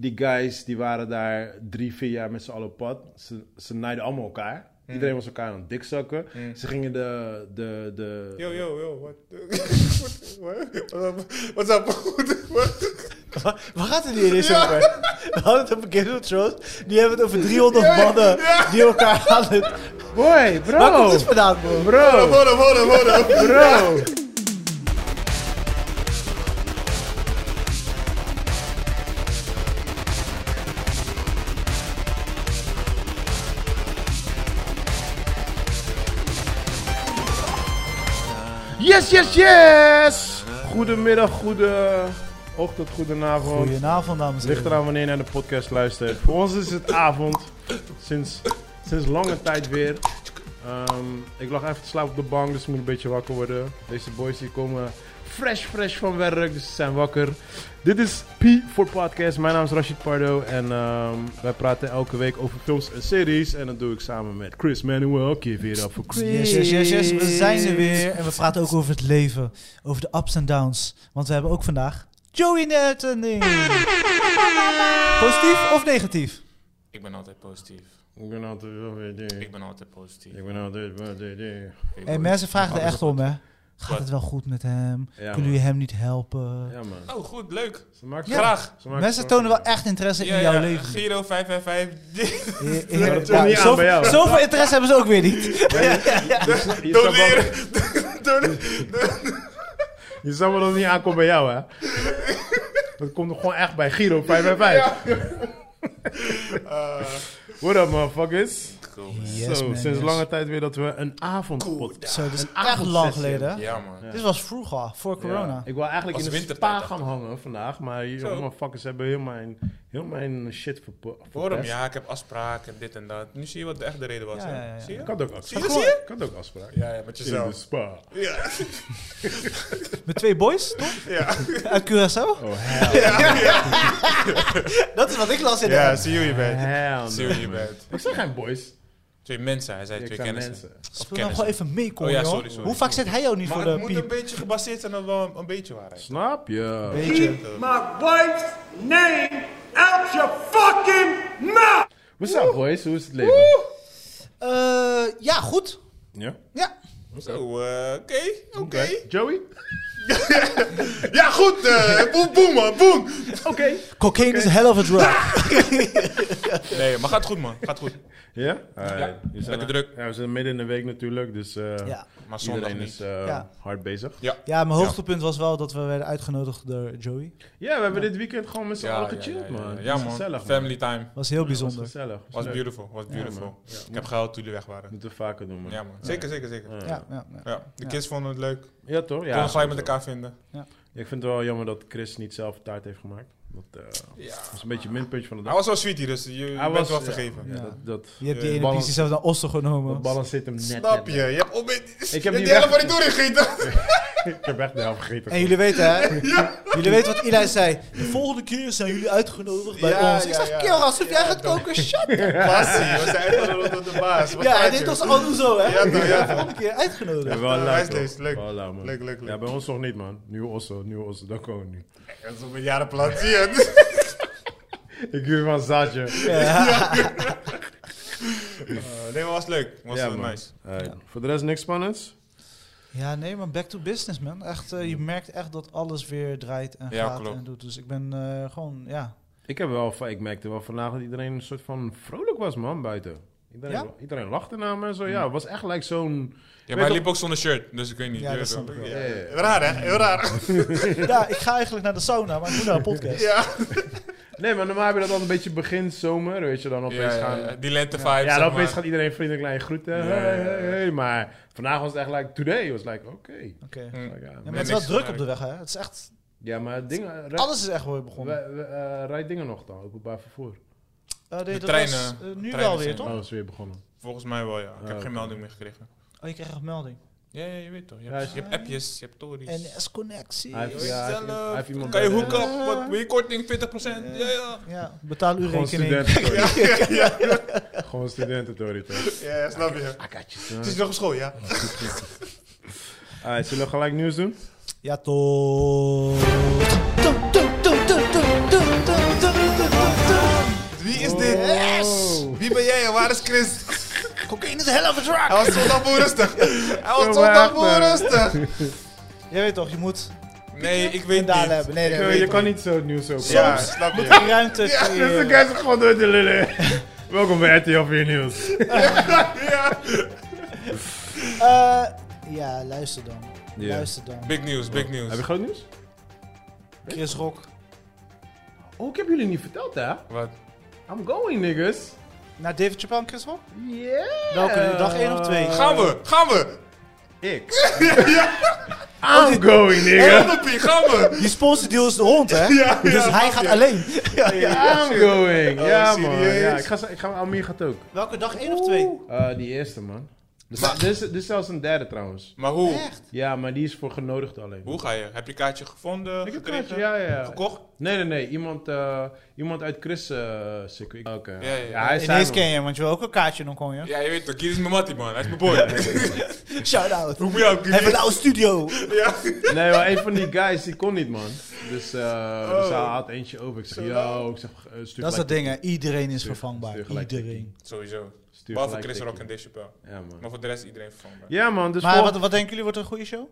Die guys die waren daar drie, vier jaar met z'n allen op pad. Ze, ze naaiden allemaal elkaar. Iedereen was elkaar aan het dikzakken. Ze gingen de... de, de Yo, yo, yo, what? What- what- what- What's up? Wa- Waar gaat het hier eens over? We hadden het over Game of Thrones. Nu hebben we het over 300 mannen die elkaar aan het... Boy, bro! Waar komt dit vandaan, bro? Bro, Hold up, hold up, hold up. bro! Yes, yes, yes! Goedemiddag, goede ochtend, goedenavond. Goedenavond, dames Het en ligt heren. eraan wanneer je naar de podcast luistert. Voor ons is het avond. Sinds, sinds lange tijd weer. Ehm, ik lag even te slapen op de bank, dus ik moet een beetje wakker worden. Deze boys die komen fresh, fresh van werk, dus ze zijn wakker. Dit is P voor Podcast. Mijn naam is Rashid Pardo en ehm, wij praten elke week over films en series. En dat doe ik samen met Chris Manuel. Give it up voor Chris. Yes, yes, yes, yes. We zijn er weer. En we praten ook over het leven. Over de ups en downs. Want we hebben ook vandaag Joey in de uitzending. Positief of negatief? Ik ben altijd positief. Ik ben altijd wel weer Ik dit. ben altijd positief. Ik ben altijd wel weer dit. Ik En word- mensen vragen er Alles echt om, hè. Gaat Wat? het wel goed met hem? Ja, Kunnen man. jullie hem niet helpen? Ja, man. Oh, goed, leuk. Ze maakt Ja. Graag. ze maakt- Mensen tonen wel echt interesse Ja, in jouw ja, leven. Giro 555. Heer- Ja, heer- dat komt niet ja, aan bij zoveel, jou. zoveel interesse hebben ze ook weer niet. Je snapt wel- Doneren. Je zou wel dat het niet aankomt bij jou, hè? Dat komt er gewoon echt bij Giro 555. What up, motherfuckers? Yes, Zo, man, sinds yes. lange tijd weer dat we een avond... Zo, dat is echt avondsessie. lang geleden. hè? Ja, man. Dit was vroeger, ah, voor corona. Ik wil eigenlijk Was in de wintertijd, spa dacht gaan hangen vandaag, maar hier Zo. motherfuckers hebben heel mijn, heel mijn shit verpo- Hoor hem, verpest. ja, ik heb afspraken en dit en dat. Nu zie je wat de echte reden was. Ja, hè? ja, ja. Zie je? Ik had ook Zie je, afspraak. zie je? Ik had ook afspraak. Ja, ja, met In de dus. jezelf. spa. Ja, Met twee boys, toch? ja. Uit Curaçao. Oh, hell, Dat is wat ik las in de ja app. zie je bent. hell Zie no, je man. bent. Ik zeg geen boys. Twee mensen, hij zei Ik twee zei kennissen. mensen. Of Speel nou kennissen. gewoon even mee, kom, Oh ja, joh. sorry, sorry. Hoe vaak zit hij jou niet voor Maar de het moet een piep? beetje gebaseerd zijn op wel een beetje waarheid. Snap je? Beetje. my wife's name out your fucking mouth! What's up, boys? Hoe is het leven? Eh, ja, goed. Ja? Ja. Zo, eh, oké, oké. Joey? Ja, goed. eh, boem, boem, man, boem. Oké. Cocaine is hell of a drug. Nee, maar gaat goed, man. Gaat goed. Ja? Alright. Ja, We zijn eh, lekker druk. Ja, we zijn midden in de week natuurlijk, dus eh Ja. Maar zondag iedereen niet. is eh, Ja. hard bezig. Ja. Ja, mijn hoogtepunt was wel dat we werden uitgenodigd door Joey. Ja, we hebben dit weekend gewoon met z'n allen gechilled, ja, man. ja, ja. Het Ja, was man. Gezellig, man. Family time. Was heel Het was bijzonder. gezellig. Het was Was leuk. beautiful. Was beautiful. Ik heb gehuild toen jullie weg waren. We moeten het vaker doen, man. Ja, Ja, man. Zeker, zeker, zeker. Ja, Ja, ja, ja. de kids vonden het leuk. Konden toch? Ja. het gelijk sowieso. met elkaar vinden. Ik vind het wel jammer dat Chris niet zelf taart heeft gemaakt. Dat eh, Ja. was een beetje een minpuntje van de Hij dag. was wel sweetie, dus je, je bent wel ja, vergeven. Ja, Ja. Dat, dat Je hebt die Eh, ene balans- piece zelf naar Osten genomen. balans zit hem net. Snap net- je? Je hebt op met... heb Ik heb die die hele weg- van die toer gegeten. Ik heb echt de helft gegeten. En jullie weten, hè? Jullie weten wat Eli zei. De volgende keer zijn jullie uitgenodigd bij Ja, ons. Ik ja, zeg, ja. kerel, alsof jij gaat koken. Shut up. Passie, we zijn echt wel door de baas. Wat Ja, praat hij je? deed ons al zo, hè? Ja, toch, ja, De volgende keer Ja, uitgenodigd. wel Ja, leuk, wijslees, hoor. leuk. Wel man. Leuk, leuk, leuk. Ja, bij ons nog niet, man. Nieuwe osso, nieuwe osso, dat komen we nu. Dat is op een jarenplan. Zie je het? Ik huur van Zaadje. Eh, Nee, maar was leuk. Was eh, man. nice. Alright. Voor de rest niks spannends? Ja, nee, maar back to business, man. Echt, eh, je merkt echt dat alles weer draait en Ja, gaat klopt. en doet. Dus ik ben eh, gewoon, ja. Ik, heb wel, ik merkte wel vandaag dat iedereen een soort van vrolijk was, man, buiten. Iedereen, Ja? iedereen lachte naar me en zo. Ja, het was echt like zo'n... Ja, maar hij liep ook zonder shirt, dus ik weet niet. Ja, Je dat weet snap wel. ik wel. Ja, Heel raar, hè? Heel raar. Ja, ik ga eigenlijk naar de sauna, maar ik moet naar een podcast. Ja. Nee, maar normaal heb je dat al een beetje begin zomer, weet je, dan opeens Ja, ja, gaan... ja. Ja, Die lente vibe. dan opeens gaat iedereen vriendelijk naar je groeten. ja, ja. Hey, hey, hey. Maar vandaag was het echt like, today was like, oké. Oké. Hm, Like, ja, Ja, man. maar het is niks wel druk op van de weg, hè? Het is echt, Ja, maar dingen... Rij, alles is echt weer begonnen. we- we, eh, rijdt dingen nog dan, openbaar vervoer. Eh, nee, de dat treinen- was, eh, de nu treinen wel weer, zijn- Oh, toch? dat is weer begonnen. Volgens mij wel, ja. Ik heb oké. geen melding meer gekregen. Oh, je kreeg een melding. Ja, ja, je weet toch. Je Ja, hebt, is- je hebt appjes, je hebt tories. NS-connectie. Hij heeft, ja, hij heeft- hij heeft iemand kan je bij de- hoek op? Wat, wil je korting? 20%? Ja, ja. Ja, betaal uw Gewoon rekening. studententory. Gewoon studententory, toch? Ja, ja, snap je. I got you, Het is nog op school, ja. Alright, zullen we gelijk nieuws doen? Ja, toch. Oh. Waar is Chris? Cocaine is hell of a drug. Hij was zondag boel rustig. Hij was Ja, zondag maar boel echt, rustig. Jij weet toch, je moet Nee, ik weet daar niet. hebben. Nee, nee, Yo, weet eh, je ik kan niet. niet zo het nieuws openen. Ja, snap je. Geen ruimte Dus de creëren. guys gaan gewoon door de lullen. Welkom bij RTL 4 Nieuws. Eh, ja, luister dan. Ja. Luister dan. Big news, big news. Heb je groot nieuws? Chris Rock. Oh, ik heb jullie niet verteld, hè? Wat? I'm going, niggas. Naar David Chappelle en Chris Rock? Yeah. Welke nu? Dag 1 of 2? Gaan we, gaan we. Ik. I'm going, nigga. Helpie, gaan we. Die sponsordeal is de hond, hè? Ja, dus ja, hij gaat alleen. I'm going. ja, man. Oh, serieus? Ja, ik ga, ik ga, Almir gaat ook. Welke dag 1 of 2? Eh, die eerste, man. Dus dit is, dit is zelfs een derde, trouwens. Maar hoe? Echt? Ja, maar die is voor genodigd alleen. Hoe ga je? Heb je kaartje gevonden? Ik heb gekregen? kaartje, ja, ja, ja. Gekocht? Nee, nee, nee. Iemand, eh, iemand uit Chris eh circuit. Oké. Ja, ja, ja. hij is Ineens daar, ken je hem, want je wil ook een kaartje, dan kon je. Ja, je weet toch, Giri is mijn mattie, man. Hij is mijn boy. Shout-out. Roep me jou, Hebben Giri. we nou een studio? Ja. Nee, maar een van die guys die kon niet, man. Dus, eh Oh. dus hij had eentje over. Ik zeg, yo, ik zeg, eh, stuur Dat is gelijk- dat ding, hè. Iedereen is vervangbaar. stuur gelijk Iedereen. Sowieso. Stuur Behalve gelijk Chris tikkie. Rock en Dave Chappelle. Ja, man. Maar voor de rest iedereen vervangen. Ja, man. Dus Maar volgende- wat, wat denken jullie, wordt het een goede show?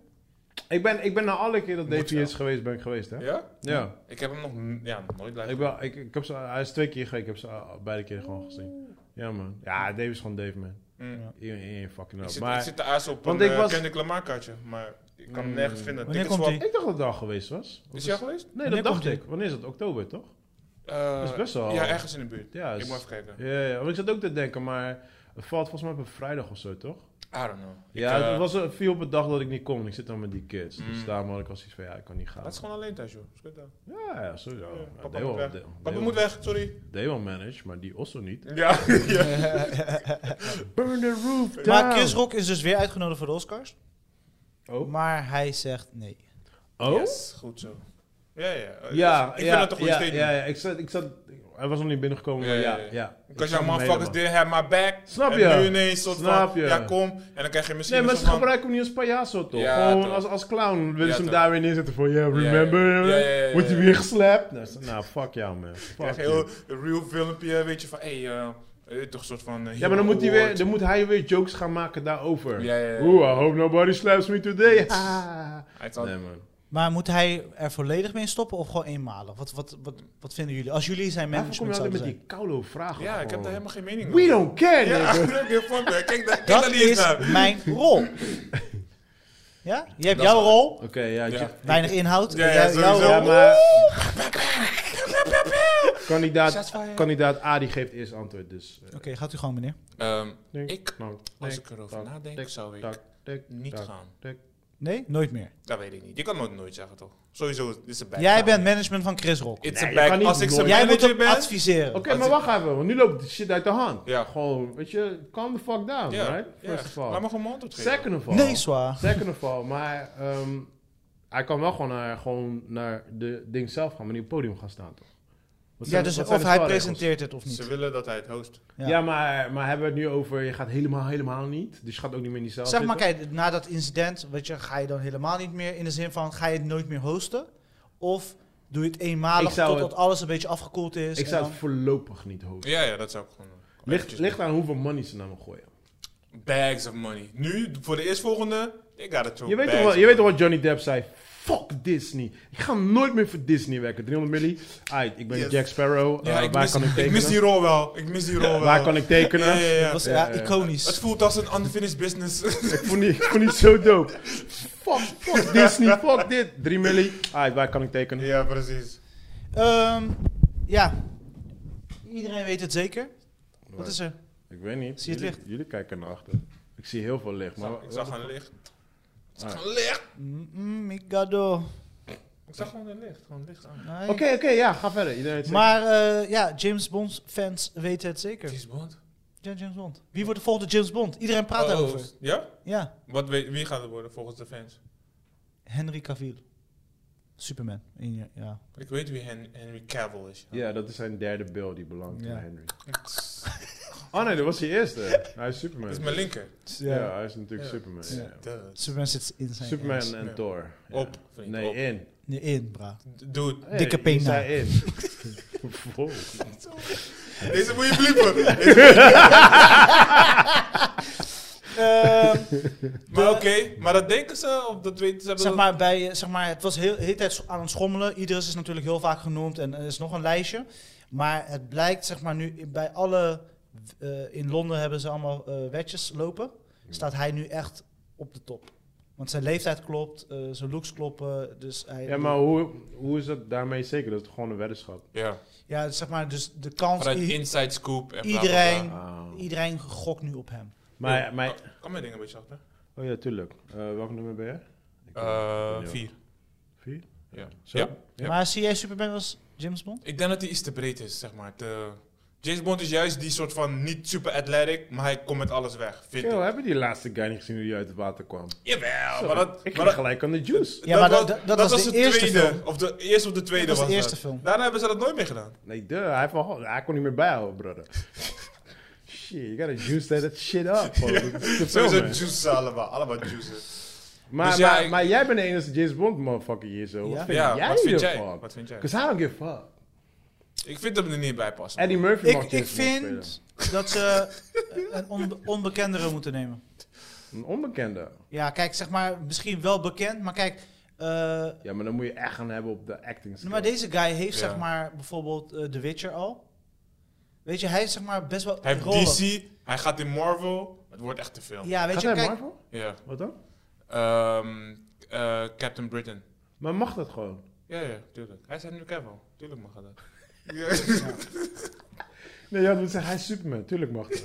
Ik ben, ik ben na alle keer dat Moet Davy wel. is geweest, ben ik geweest, hè? Ja. Ja? Ik heb hem nog n- ja, nooit Ik laten ben, ik, ik heb ze, hij is twee keer geweest. Ik heb ze al- beide keer gewoon gezien. Ja, man. Ja, Davy is gewoon Dave, man. Mm. I- I- I- fucking Ik up. zit, maar ik zit te aas op Want een ik eh, was- Mm. Kendrick Lamar kaartje, maar ik kan hem nergens vinden. Wanneer Ticketswap- komt die? ik dacht dat het al geweest was. Of Is hij al geweest? Nee, Wanneer dat dacht komt ik. Wanneer is dat? Oktober, toch? Eh, Dat is best wel- Ja, ergens in de buurt. Ja, Ik is- moet even kijken. Ja, ja, want ik zat ook te denken, maar het valt volgens mij op een vrijdag of zo, toch? I don't know. Ja, Ik, eh, het was een viel op een dag dat ik niet kon. en Ik zit dan met die kids. Dus daarom had ik al zoiets van, ja, ik kan niet gaan. Mm. Dat is gewoon alleen thuis, joh. Schut dan. Ja, ja, sowieso. Ja, Ja, Papa they moet will- weg. they- Papa they moet will- weg, sorry. They will manage, maar die Osso niet. Ja, ja. Burn the roof down! Maar Chris Rock is dus weer uitgenodigd voor de Oscars. Oh. Maar hij zegt nee. Oh? Yes, goed zo. Ja, ja. Eh, Ja, dus ik ja, vind dat een goede ja, statement. ja, ja, ik zat, ik zat, hij was nog niet binnengekomen, Ja, maar ja, ja, ja. ja. Because Ik your snap hem motherfuckers helemaal. didn't have my back. Snap en je? nu ineens soort Snap van, je? ja kom. En dan krijg je misschien Nee, maar een ze soort van- gebruiken hem niet als payaso, toch? Ja, Gewoon toch. Als, als clown willen Ja, ze hem toch. daar weer neerzetten van, yeah, ja. remember? Ja, ja, ja, ja, Wordt hij ja. weer geslapt? Nou, ze- nou, fuck jou, man. Fuck krijg je you. heel een real filmpje, weet je, van hé, hey, eh, je weet toch een soort van... eh, Ja, maar dan moet, hij hero weer, award. dan moet hij weer jokes gaan maken daarover. Ja, ja, ja. Oeh, I hope nobody slaps me today. Ah. Ha. Hij zal- Nee, man. Maar moet hij er volledig mee stoppen of gewoon eenmalig? Wat, wat, wat, wat vinden jullie? Als jullie zijn Waarom kom je management altijd zouden met zijn. die koude vragen? Ja, ik heb gewoon? daar helemaal geen mening We don't care, Ja, nigga. I don't give a fuck, man. Kijk, daar- kijk Dat daar niet eens naar. is mijn rol. Ja? Je hebt jouw rol, Oké, ja, Ja. weinig inhoud. Ja, ja, Jij- jouw sowieso. rol. Ja, maar... kandidaat, kandidaat A die geeft eerst antwoord, dus... eh, Oké, gaat u gewoon meneer. Ehm, denk, ik, nou, als denk, ik erover tak, nadenk, tik, zou ik tak, tik, niet tak, gaan. tik. Nee? Nooit meer. Dat weet ik niet. Je kan nooit nooit zeggen, toch? Sowieso, dit is een back. Jij bent management van Chris Rock. It's Nee, a je back. kan niet Als ik zijn nooit- Jij moet manager hem ben... adviseren. Oké, maar wacht even, want nu loopt de shit uit de hand. Ja. Gewoon, weet je, calm the fuck down, Ja, right? ja. First of Laat all. me gewoon mond optreden. Second of all. Nee, zwaar. Second of all, maar ehm, hij kan wel gewoon naar, gewoon naar de ding zelf gaan, maar niet op het podium gaan staan, toch? Wat Ja, zijn- dus wat zijn of de hij spelregels? presenteert het of niet. Ze willen dat hij het host. Ja, maar, maar hebben we het nu over, je gaat helemaal, helemaal niet. Dus je gaat ook niet meer in die zaal Zeg maar, zitten. kijk, na dat incident, weet je, ga je dan helemaal niet meer in de zin van, ga je het nooit meer hosten? Of doe je het eenmalig Ik zou totdat het- alles een beetje afgekoeld Ik is? dus en zou dan- het voorlopig niet houden. Ja, dus ja, dat zou ik gewoon doen. Ligt, Eventjes ligt aan hoeveel money ze naar me gooien. doen. Bags of money. Nu, voor de eerstvolgende, ik ga het zo. Je weet, toch wel, je weet toch wat Johnny Depp zei? Fuck Disney. Ik ga nooit meer voor Disney werken. 300 millie. Aight, ik ben Yes. Jack Sparrow. Eh, Ja, ik, waar mis, kan ik tekenen? ik mis die rol wel. Ik mis die rol wel. waar kan ik tekenen? Ja, ja, ja. Dat was Ja, ja, ja. Het iconisch. voelt als een unfinished business. Ik vond die, ik vond die zo dope. Fuck, fuck Disney. Fuck dit. 3 millie. Aight, waar kan ik tekenen? ja, precies. Ehm, ja, iedereen weet het zeker. Wat is er? Ik weet niet. Zie je het jullie, jullie kijken naar achter. Ik zie heel veel licht. Maar Ik zag een licht. Ik zag een licht. Mm, mm, Mikado. Ik zag gewoon een licht. Gewoon licht aan. Nee. Oké, oké, ja, ga verder. Iedereen heeft- Maar eh, ja, James Bond fans weten het zeker. James Bond? Ja, James Bond. Wie wordt de volgende James Bond? Iedereen praat Oh, daarover. Ja? Ja, Wat, weet- wie gaat het worden volgens de fans? Henry Cavill. Superman. In- Ja. Ik weet wie Hen- Henry Cavill is. Ja, dat is zijn derde bil die belangt Ja. aan Henry. Dat Oh nee, dat was die eerste. Hij is Superman. is mijn linker. ja. hij is natuurlijk Ja. Superman. Ja. ja. Duh. Superman zit in zijn ass. Superman en Ja. Thor. Ja. Op, vriend, Nee, eh. Oh, op. in. Nee, in, bra. Dude, Hey, Dikke je pena. zei in. Deze moet je bliepen. Deze- Eh, Ehm, Maar oké, maar dat denken ze of dat weten ze? hebben zeg, dat- maar bij, eh, zeg maar, het was heel, de hele tijd aan het schommelen. Iedereen is natuurlijk heel vaak genoemd en er is nog een lijstje. Maar het blijkt, zeg maar, nu bij alle... eh, in Londen hebben ze allemaal eh wedges lopen. Staat hij nu echt op de top. Want zijn leeftijd klopt, eh, zijn looks kloppen. Dus hij, Ja, maar hoe, hoe is dat daarmee zeker? Dat is gewoon een weddenschap. Ja, Ja, zeg maar, dus de kans... vanuit i- Inside Scoop en bla, Ah. bla, bla. iedereen, iedereen gokt nu op hem. Maar, maar, Kan mijn dingen een beetje achter? oh ja, tuurlijk. Eh, welk nummer ben je? Eh vier. Vier? Ja. Zo? ja. Ja. Maar zie jij Superman als James Bond? Ik denk dat hij iets te breed is, zeg maar. Te... James Bond is juist die soort van niet super athletic, maar hij komt met alles weg, vind Yo, ik. heb je die laatste guy niet gezien hoe die uit het water kwam? Jawel, maar dat... Ik maar ging dat- gelijk aan de juice. Ja, maar dat- was- dat- dat was de eerste tweede. film. Of de eerste of de tweede Dat was was de eerste dat. film. Daarna hebben ze dat nooit meer gedaan. Nee, duh, hij, heeft al- hij kon niet meer bijhouden, brother. shit, you gotta juice that shit up. man. Dat is te veel, Sowieso man. juices allemaal, allemaal juices. Maar, Dus ja, maar, ik- maar jij bent de enige James Bond motherfucker hier zo. Wat Ja. vind Ja, jij wat vind jij? hiervan? Wat vind jij? Cause I don't give a fuck. Ik vind hem er niet bij passen. Eddie Murphy mag Ik, ik James Bond vind dat ze eh, een onbe- onbekendere moeten nemen. spelen. Een onbekende. Ja, kijk, zeg maar, misschien wel bekend, maar kijk, eh, Ja, maar dan moet je echt gaan hebben op de acting skills. Nou, maar deze guy heeft Ja. zeg maar bijvoorbeeld eh, The Witcher al. Weet je, hij is zeg maar best wel. Hij heeft rollen. DC, hij gaat in Marvel. Het wordt echt te veel. Ja. Ja, weet Gaat je, hij kijk, Marvel? Wat dan? Ehm, eh, Captain Britain. Maar mag dat gewoon? Ja, ja, tuurlijk. Hij is nu Cavill. Tuurlijk mag hij dat. Nee, ja, dan zeggen hij is Superman. Tuurlijk mag dat.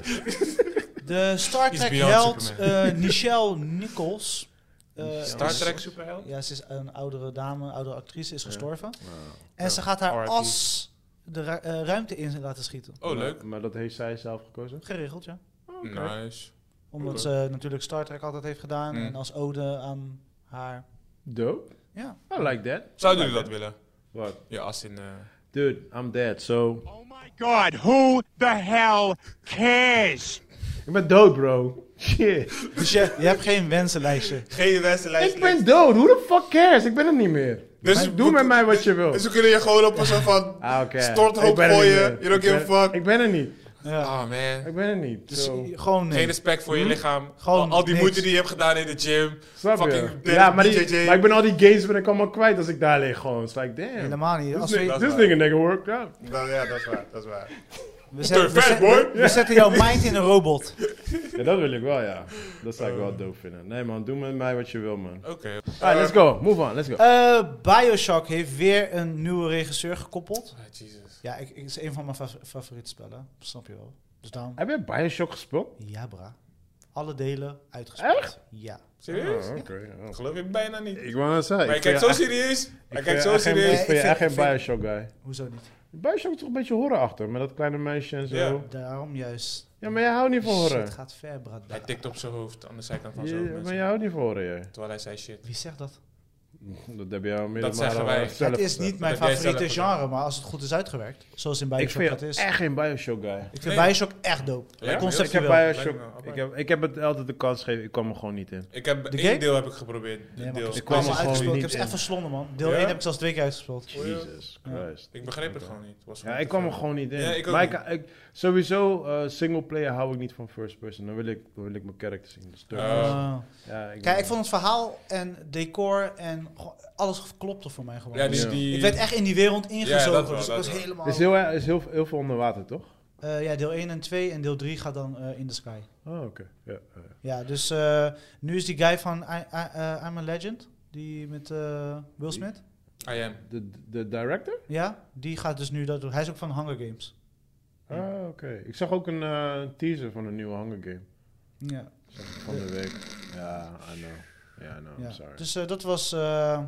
de Star He's Trek beyond held Superman. eh, Nichelle Nichols. eh, Star is- Trek superheld? Ja, ze is een oudere dame, een oudere actrice, is gestorven. En ze gaat haar R.I.P. as de ru- eh, ruimte in laten schieten. Oh, leuk. Maar, maar dat heeft zij zelf gekozen. Geregeld, ja. Nice. Omdat ze natuurlijk Star Trek altijd heeft gedaan. Mm. En als ode aan haar. Dope. Ja. I like that. Zouden jullie dat willen? Wat? Ja, als in... eh, Dude, I'm dead, so... Oh my god, who the hell cares? Ik ben dood, bro. Shit. Dus je, je hebt geen wensenlijstje. Geen wedstrijd. Ik ben dood. Who the fuck cares? Ik ben het niet meer. Dus Maar Doe met mij wat je wil. Dus we kunnen je gewoon op een soort van Ah, oké. Ik storthoop ben er niet gooien. meer. You don't Ik give ben- a fuck. Ik ben er niet. Ah, man. Ik ben er niet. Dus zo. je- gewoon nee. Geen respect voor je lichaam. Gewoon al, al die niks. moeite die je hebt gedaan in de gym. Snap je? Fucking Ja, maar, die- DJJ. maar ik ben al die games ben ik allemaal kwijt als ik daar lig gewoon. It's like, damn. Helemaal niet. Als This we, nigga- dat is This waar. nigga nigga worked out. Nou ja, dat is waar. Dat is waar. we, zetten, we, Perfect, zetten- hoor. we zetten jouw mind in een robot. Ja, dat wil ik wel, ja. Dat zou ik wel dope vinden. Nee man, doe met mij wat je wil, man. Oké. Oh. Alright, let's go. Move on, let's go. Eh, Bioshock heeft weer een nieuwe regisseur gekoppeld. Ah, Jesus. Ja, ik, ik- is een van mijn fa- favoriete spellen. Snap je wel. Dus daarom. Heb je Bioshock gespeeld? Ja, bra. Alle delen uitgespeeld. Echt? Ja. Serieus? Oh, oké. ja. Geloof ik bijna niet. Ik wou net zeggen. Maar hij ik kijkt zo vind je serieus. Hij echt- kijkt ik zo vind je echt geen- serieus. Ik vind je echt geen Ik vind- Bioshock guy. Hoezo niet? Bioshock is toch een beetje horror achter, met dat kleine meisje en zo. Ja. Daarom juist. Ja, maar jij houdt niet van Shit horror. gaat ver, bra. Hij tikt op zijn hoofd aan de zijkant van Je- zijn maar hoofd. jij houdt niet van horror, jij. Terwijl hij zei shit. Wie zegt dat? Dat heb je al meerdere zeggen malen wij. zelf Het is gezegd. niet mijn heb jij favoriete zelf gedaan. genre, maar als het goed is uitgewerkt, zoals in Ik Bioshock vind Eh, dat je is. echt geen Bioshock guy. Ik vind Nee. Bioshock echt dope. Ja? Ik heb, Conceptueel. Bioshock, Lijkt me wel. Oh ik, heb, ik heb het altijd de kans gegeven, ik kwam er gewoon niet in. Ik heb De één game? deel heb ik geprobeerd. Nee, Een maar deel. ik ik kwam kwam er gewoon al uitgespeeld. Ik niet heb ze in. echt verslonden, man. Deel Ja? 1 heb ik zelfs twee keer uitgespeeld. Jesus Christ. Ik begreep het gewoon niet. Het was Ja, gewoon ik te kwam er veel. gewoon niet in. Ja, ik ook maar niet. Ik, ik- sowieso, eh singleplayer hou ik niet van first person. Dan wil ik, dan wil ik mijn character zien. Dus turn. Eh, Ah. ja, ik Kijk, ben- ik vond het verhaal en decor en gewoon- alles klopte voor mij gewoon. Dus Ja, die, Ja. die... Ik werd echt in die wereld ingezogen, dat wel, dus ik dat was wel. helemaal... Het is heel, er is heel, heel veel onder water, toch? Eh, ja, deel 1 en 2 en deel 3 gaat dan eh, in de sky. Oh, oké. Ja, eh. Ja, dus eh, nu is die guy van I, I- eh, I'm a Legend, die met eh, Will Smith. I am. de, de director? Ja, die gaat dus nu dat doen. Hij is ook van Hunger Games. Ah, oké. Ik zag ook een eh, teaser van een nieuwe Hunger Game. Ja, Van de week. Ja, I know. Ja, I know. ja. I'm sorry. Dus eh, dat was eh,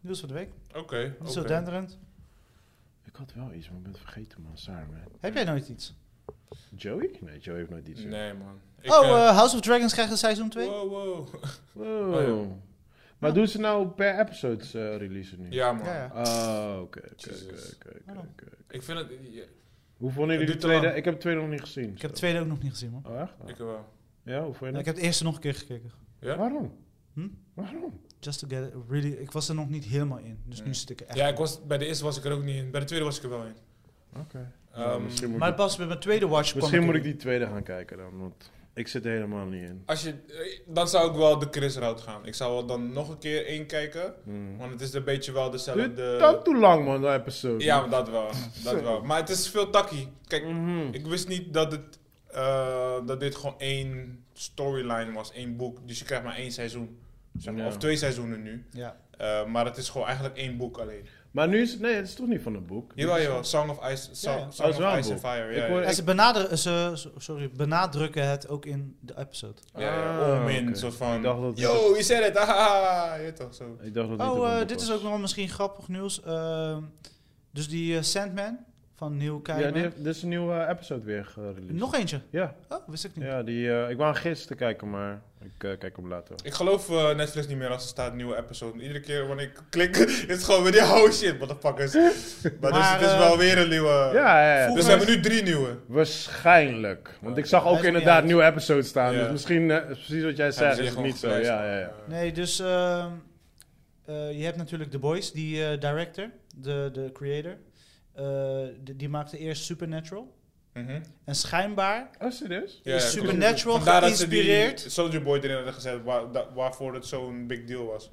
nieuws van de week. Oké. Dat is oké. zo denderend. Ik had wel iets, maar ik ben het vergeten, man. Sorry, man. Heb jij nooit iets? Joey? Nee, Joey heeft nooit iets. Nee, man. Ik, oh, eh, eh, House of Dragons krijgt een seizoen 2? Wow, wow. Wow. Oh, Maar doen ze nou per episodes eh releasen nu? Ja, man. Ja, ja. Oh, oké, oké, Jesus. oké, oké, oké, Waarom? oké. Ik vind het... ja, Hoe vonden jullie de duurt te tweede? lang. Ik heb de tweede nog niet gezien. Ik heb de zo. tweede ook nog niet gezien, man. Oh, echt? Ik eh, wel. Ja, hoe vond je Ik dat? heb de eerste nog een keer gekeken. Ja? Waarom? Hm? Waarom? Just to get it really... Ik was er nog niet helemaal in, dus nu zit ik er echt Ja, in. ik was, bij de eerste was ik er ook niet in. Bij de tweede was ik er wel in. Ja, Ehm, Nou, misschien moet, Maar ik, pas bij mijn tweede watch kwam misschien ik moet er- ik die tweede gaan kijken dan, want ik zit er helemaal niet in. Als je, eh, dan zou ik wel de Chris route gaan. Ik zou wel dan nog een keer één kijken. Hmm. Want het is een beetje wel Duurt dezelfde... dan te lang man, dat episode. Ja, dat wel. Dat wel. Maar het is veel takkie. Kijk, Mhm. ik wist niet dat, het, eh, dat dit gewoon één storyline was, één boek. Dus je krijgt maar één seizoen. Zeg maar, Ja. Of twee seizoenen nu. Ja. Eh, maar het is gewoon eigenlijk één boek alleen. Maar nu is, nee, het is toch niet van een boek? Jawel, jawel. Song of Ice, Song, ja. Song Oh, is wel of een Ice and boek. Fire. Ik Ja, hoor- ja. En ze, benaderen, ze ze- sorry, benadrukken het ook in de episode. Ja, ja. Ah, Om in, oké. soort van... Ik dacht dat- Yo, je zei het. Haha. Ah, Je weet toch, zo. Ik dacht dat het niet Oh, van een eh, boek dit was. is ook nog misschien grappig nieuws. Ehm, dus die eh, Sandman van Neil Gaiman. Ja, die heeft, dit is een nieuwe eh, episode weer gereleased. Nog eentje. Ja, Oh, wist ik niet. ja die, eh, ik wou hem gisteren kijken, maar ik eh, kijk hem later. Ik geloof eh, Netflix niet meer als er staat nieuwe episode. Iedere keer wanneer ik klik, is het gewoon weer die oh shit, motherfuckers. maar dus Maar, het is eh, wel weer een nieuwe. Ja, ja, ja. Dus we hebben nu drie nieuwe. Waarschijnlijk. Want ik zag Hij ook is niet inderdaad uit. nieuwe episodes staan. Ja. Dus misschien, eh, precies wat jij zei, Hebben ze is hier het dus gewoon niet zo. geprijsd. Ja, ja, ja. Nee, dus ehm, eh, je hebt natuurlijk The Boys, die eh, director, de, de creator. Eh, die, die maakte eerst Supernatural. Mhm. En schijnbaar Oh, serieus? Ja, is klopt. Supernatural Vandaar dat ze die geïnspireerd. Soldier Boy erin hadden gezet, waar, da- waarvoor het zo'n big deal was.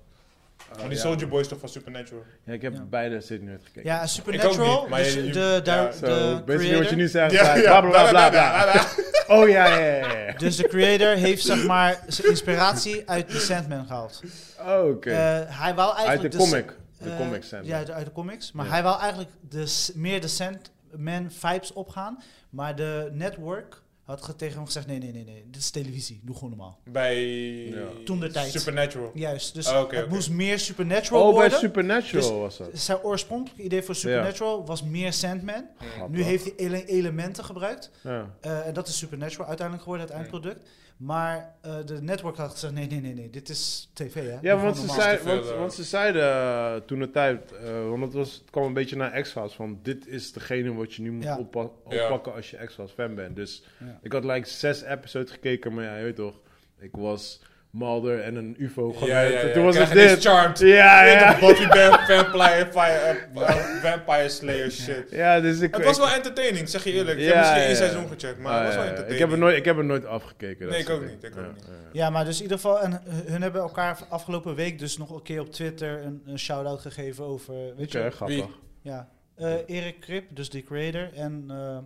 Want die Oh, ja. Soldier Boy is toch van Supernatural? Ja, ik heb Ja. beide zit nooit gekeken. Ja, en Ik ook Supernatural, niet, maar dus je- je- de, ja. daar- Zo, de basically wat je creator, nu zegt, ja, bla, bla, bla, bla, Oh, ja, ja, ja, ja. dus de creator heeft zeg maar zijn inspiratie uit de Sandman gehaald. Oh, Oké. Eh, hij wou eigenlijk Uit de comic. Oh, De eh, comics zijn. Ja, uit de, uit de comics. Maar Ja. hij wou eigenlijk de, s- meer de Sandman vibes opgaan. Maar de network had ge- tegen hem gezegd: nee, nee, nee, nee, dit is televisie. Doe gewoon normaal. Bij Toentertijd. Supernatural. Juist. Dus Ah, oké, het oké. moest meer Supernatural Oh, bij worden. Supernatural Dus- was dat. Zijn oorspronkelijke idee voor Supernatural was meer Sandman. Nu Grappig. heeft hij ele- elementen gebruikt. Ja. Eh, en dat is Supernatural uiteindelijk geworden, het eindproduct. Maar eh, de network had gezegd: nee, nee, nee, nee, dit is tv. Hè? Doe Ja, gewoon want ze, normaal. zei, te veel, want, eh. want ze zeiden eh, toen de tijd, eh, want het, was, het kwam een beetje naar X-Files, van dit is degene wat je nu moet Ja. oppa- Ja. oppakken als je X-Files fan bent. Dus Ja. ik had like zes episodes gekeken, maar ja, je weet toch, ik was Mulder en een UFO gewend. Ja, ja, ja. En Toen was Krijg het je ineens dit. Charmed. Ja, ja. Buffy Bam- Vampire, Fire- eh, eh, Vampire Slayer shit. Ja, dus ik... Het was ik- wel entertaining, zeg je eerlijk. Ik Ja, heb misschien één ja, ja. seizoen gecheckt, maar het was wel Ah, ja, ja. entertaining. ik, heb het nooit, ik heb het nooit afgekeken. dat Nee, ik soort ook dingen. niet, ik ook Ja, niet. ja. Ja, maar dus in ieder geval, en hun hun hebben elkaar afgelopen week dus nog een keer op Twitter een, een shout-out gegeven over, weet Oké, je, grappig. Wie? ja, Eh, Erik Krip, dus die creator, en eh,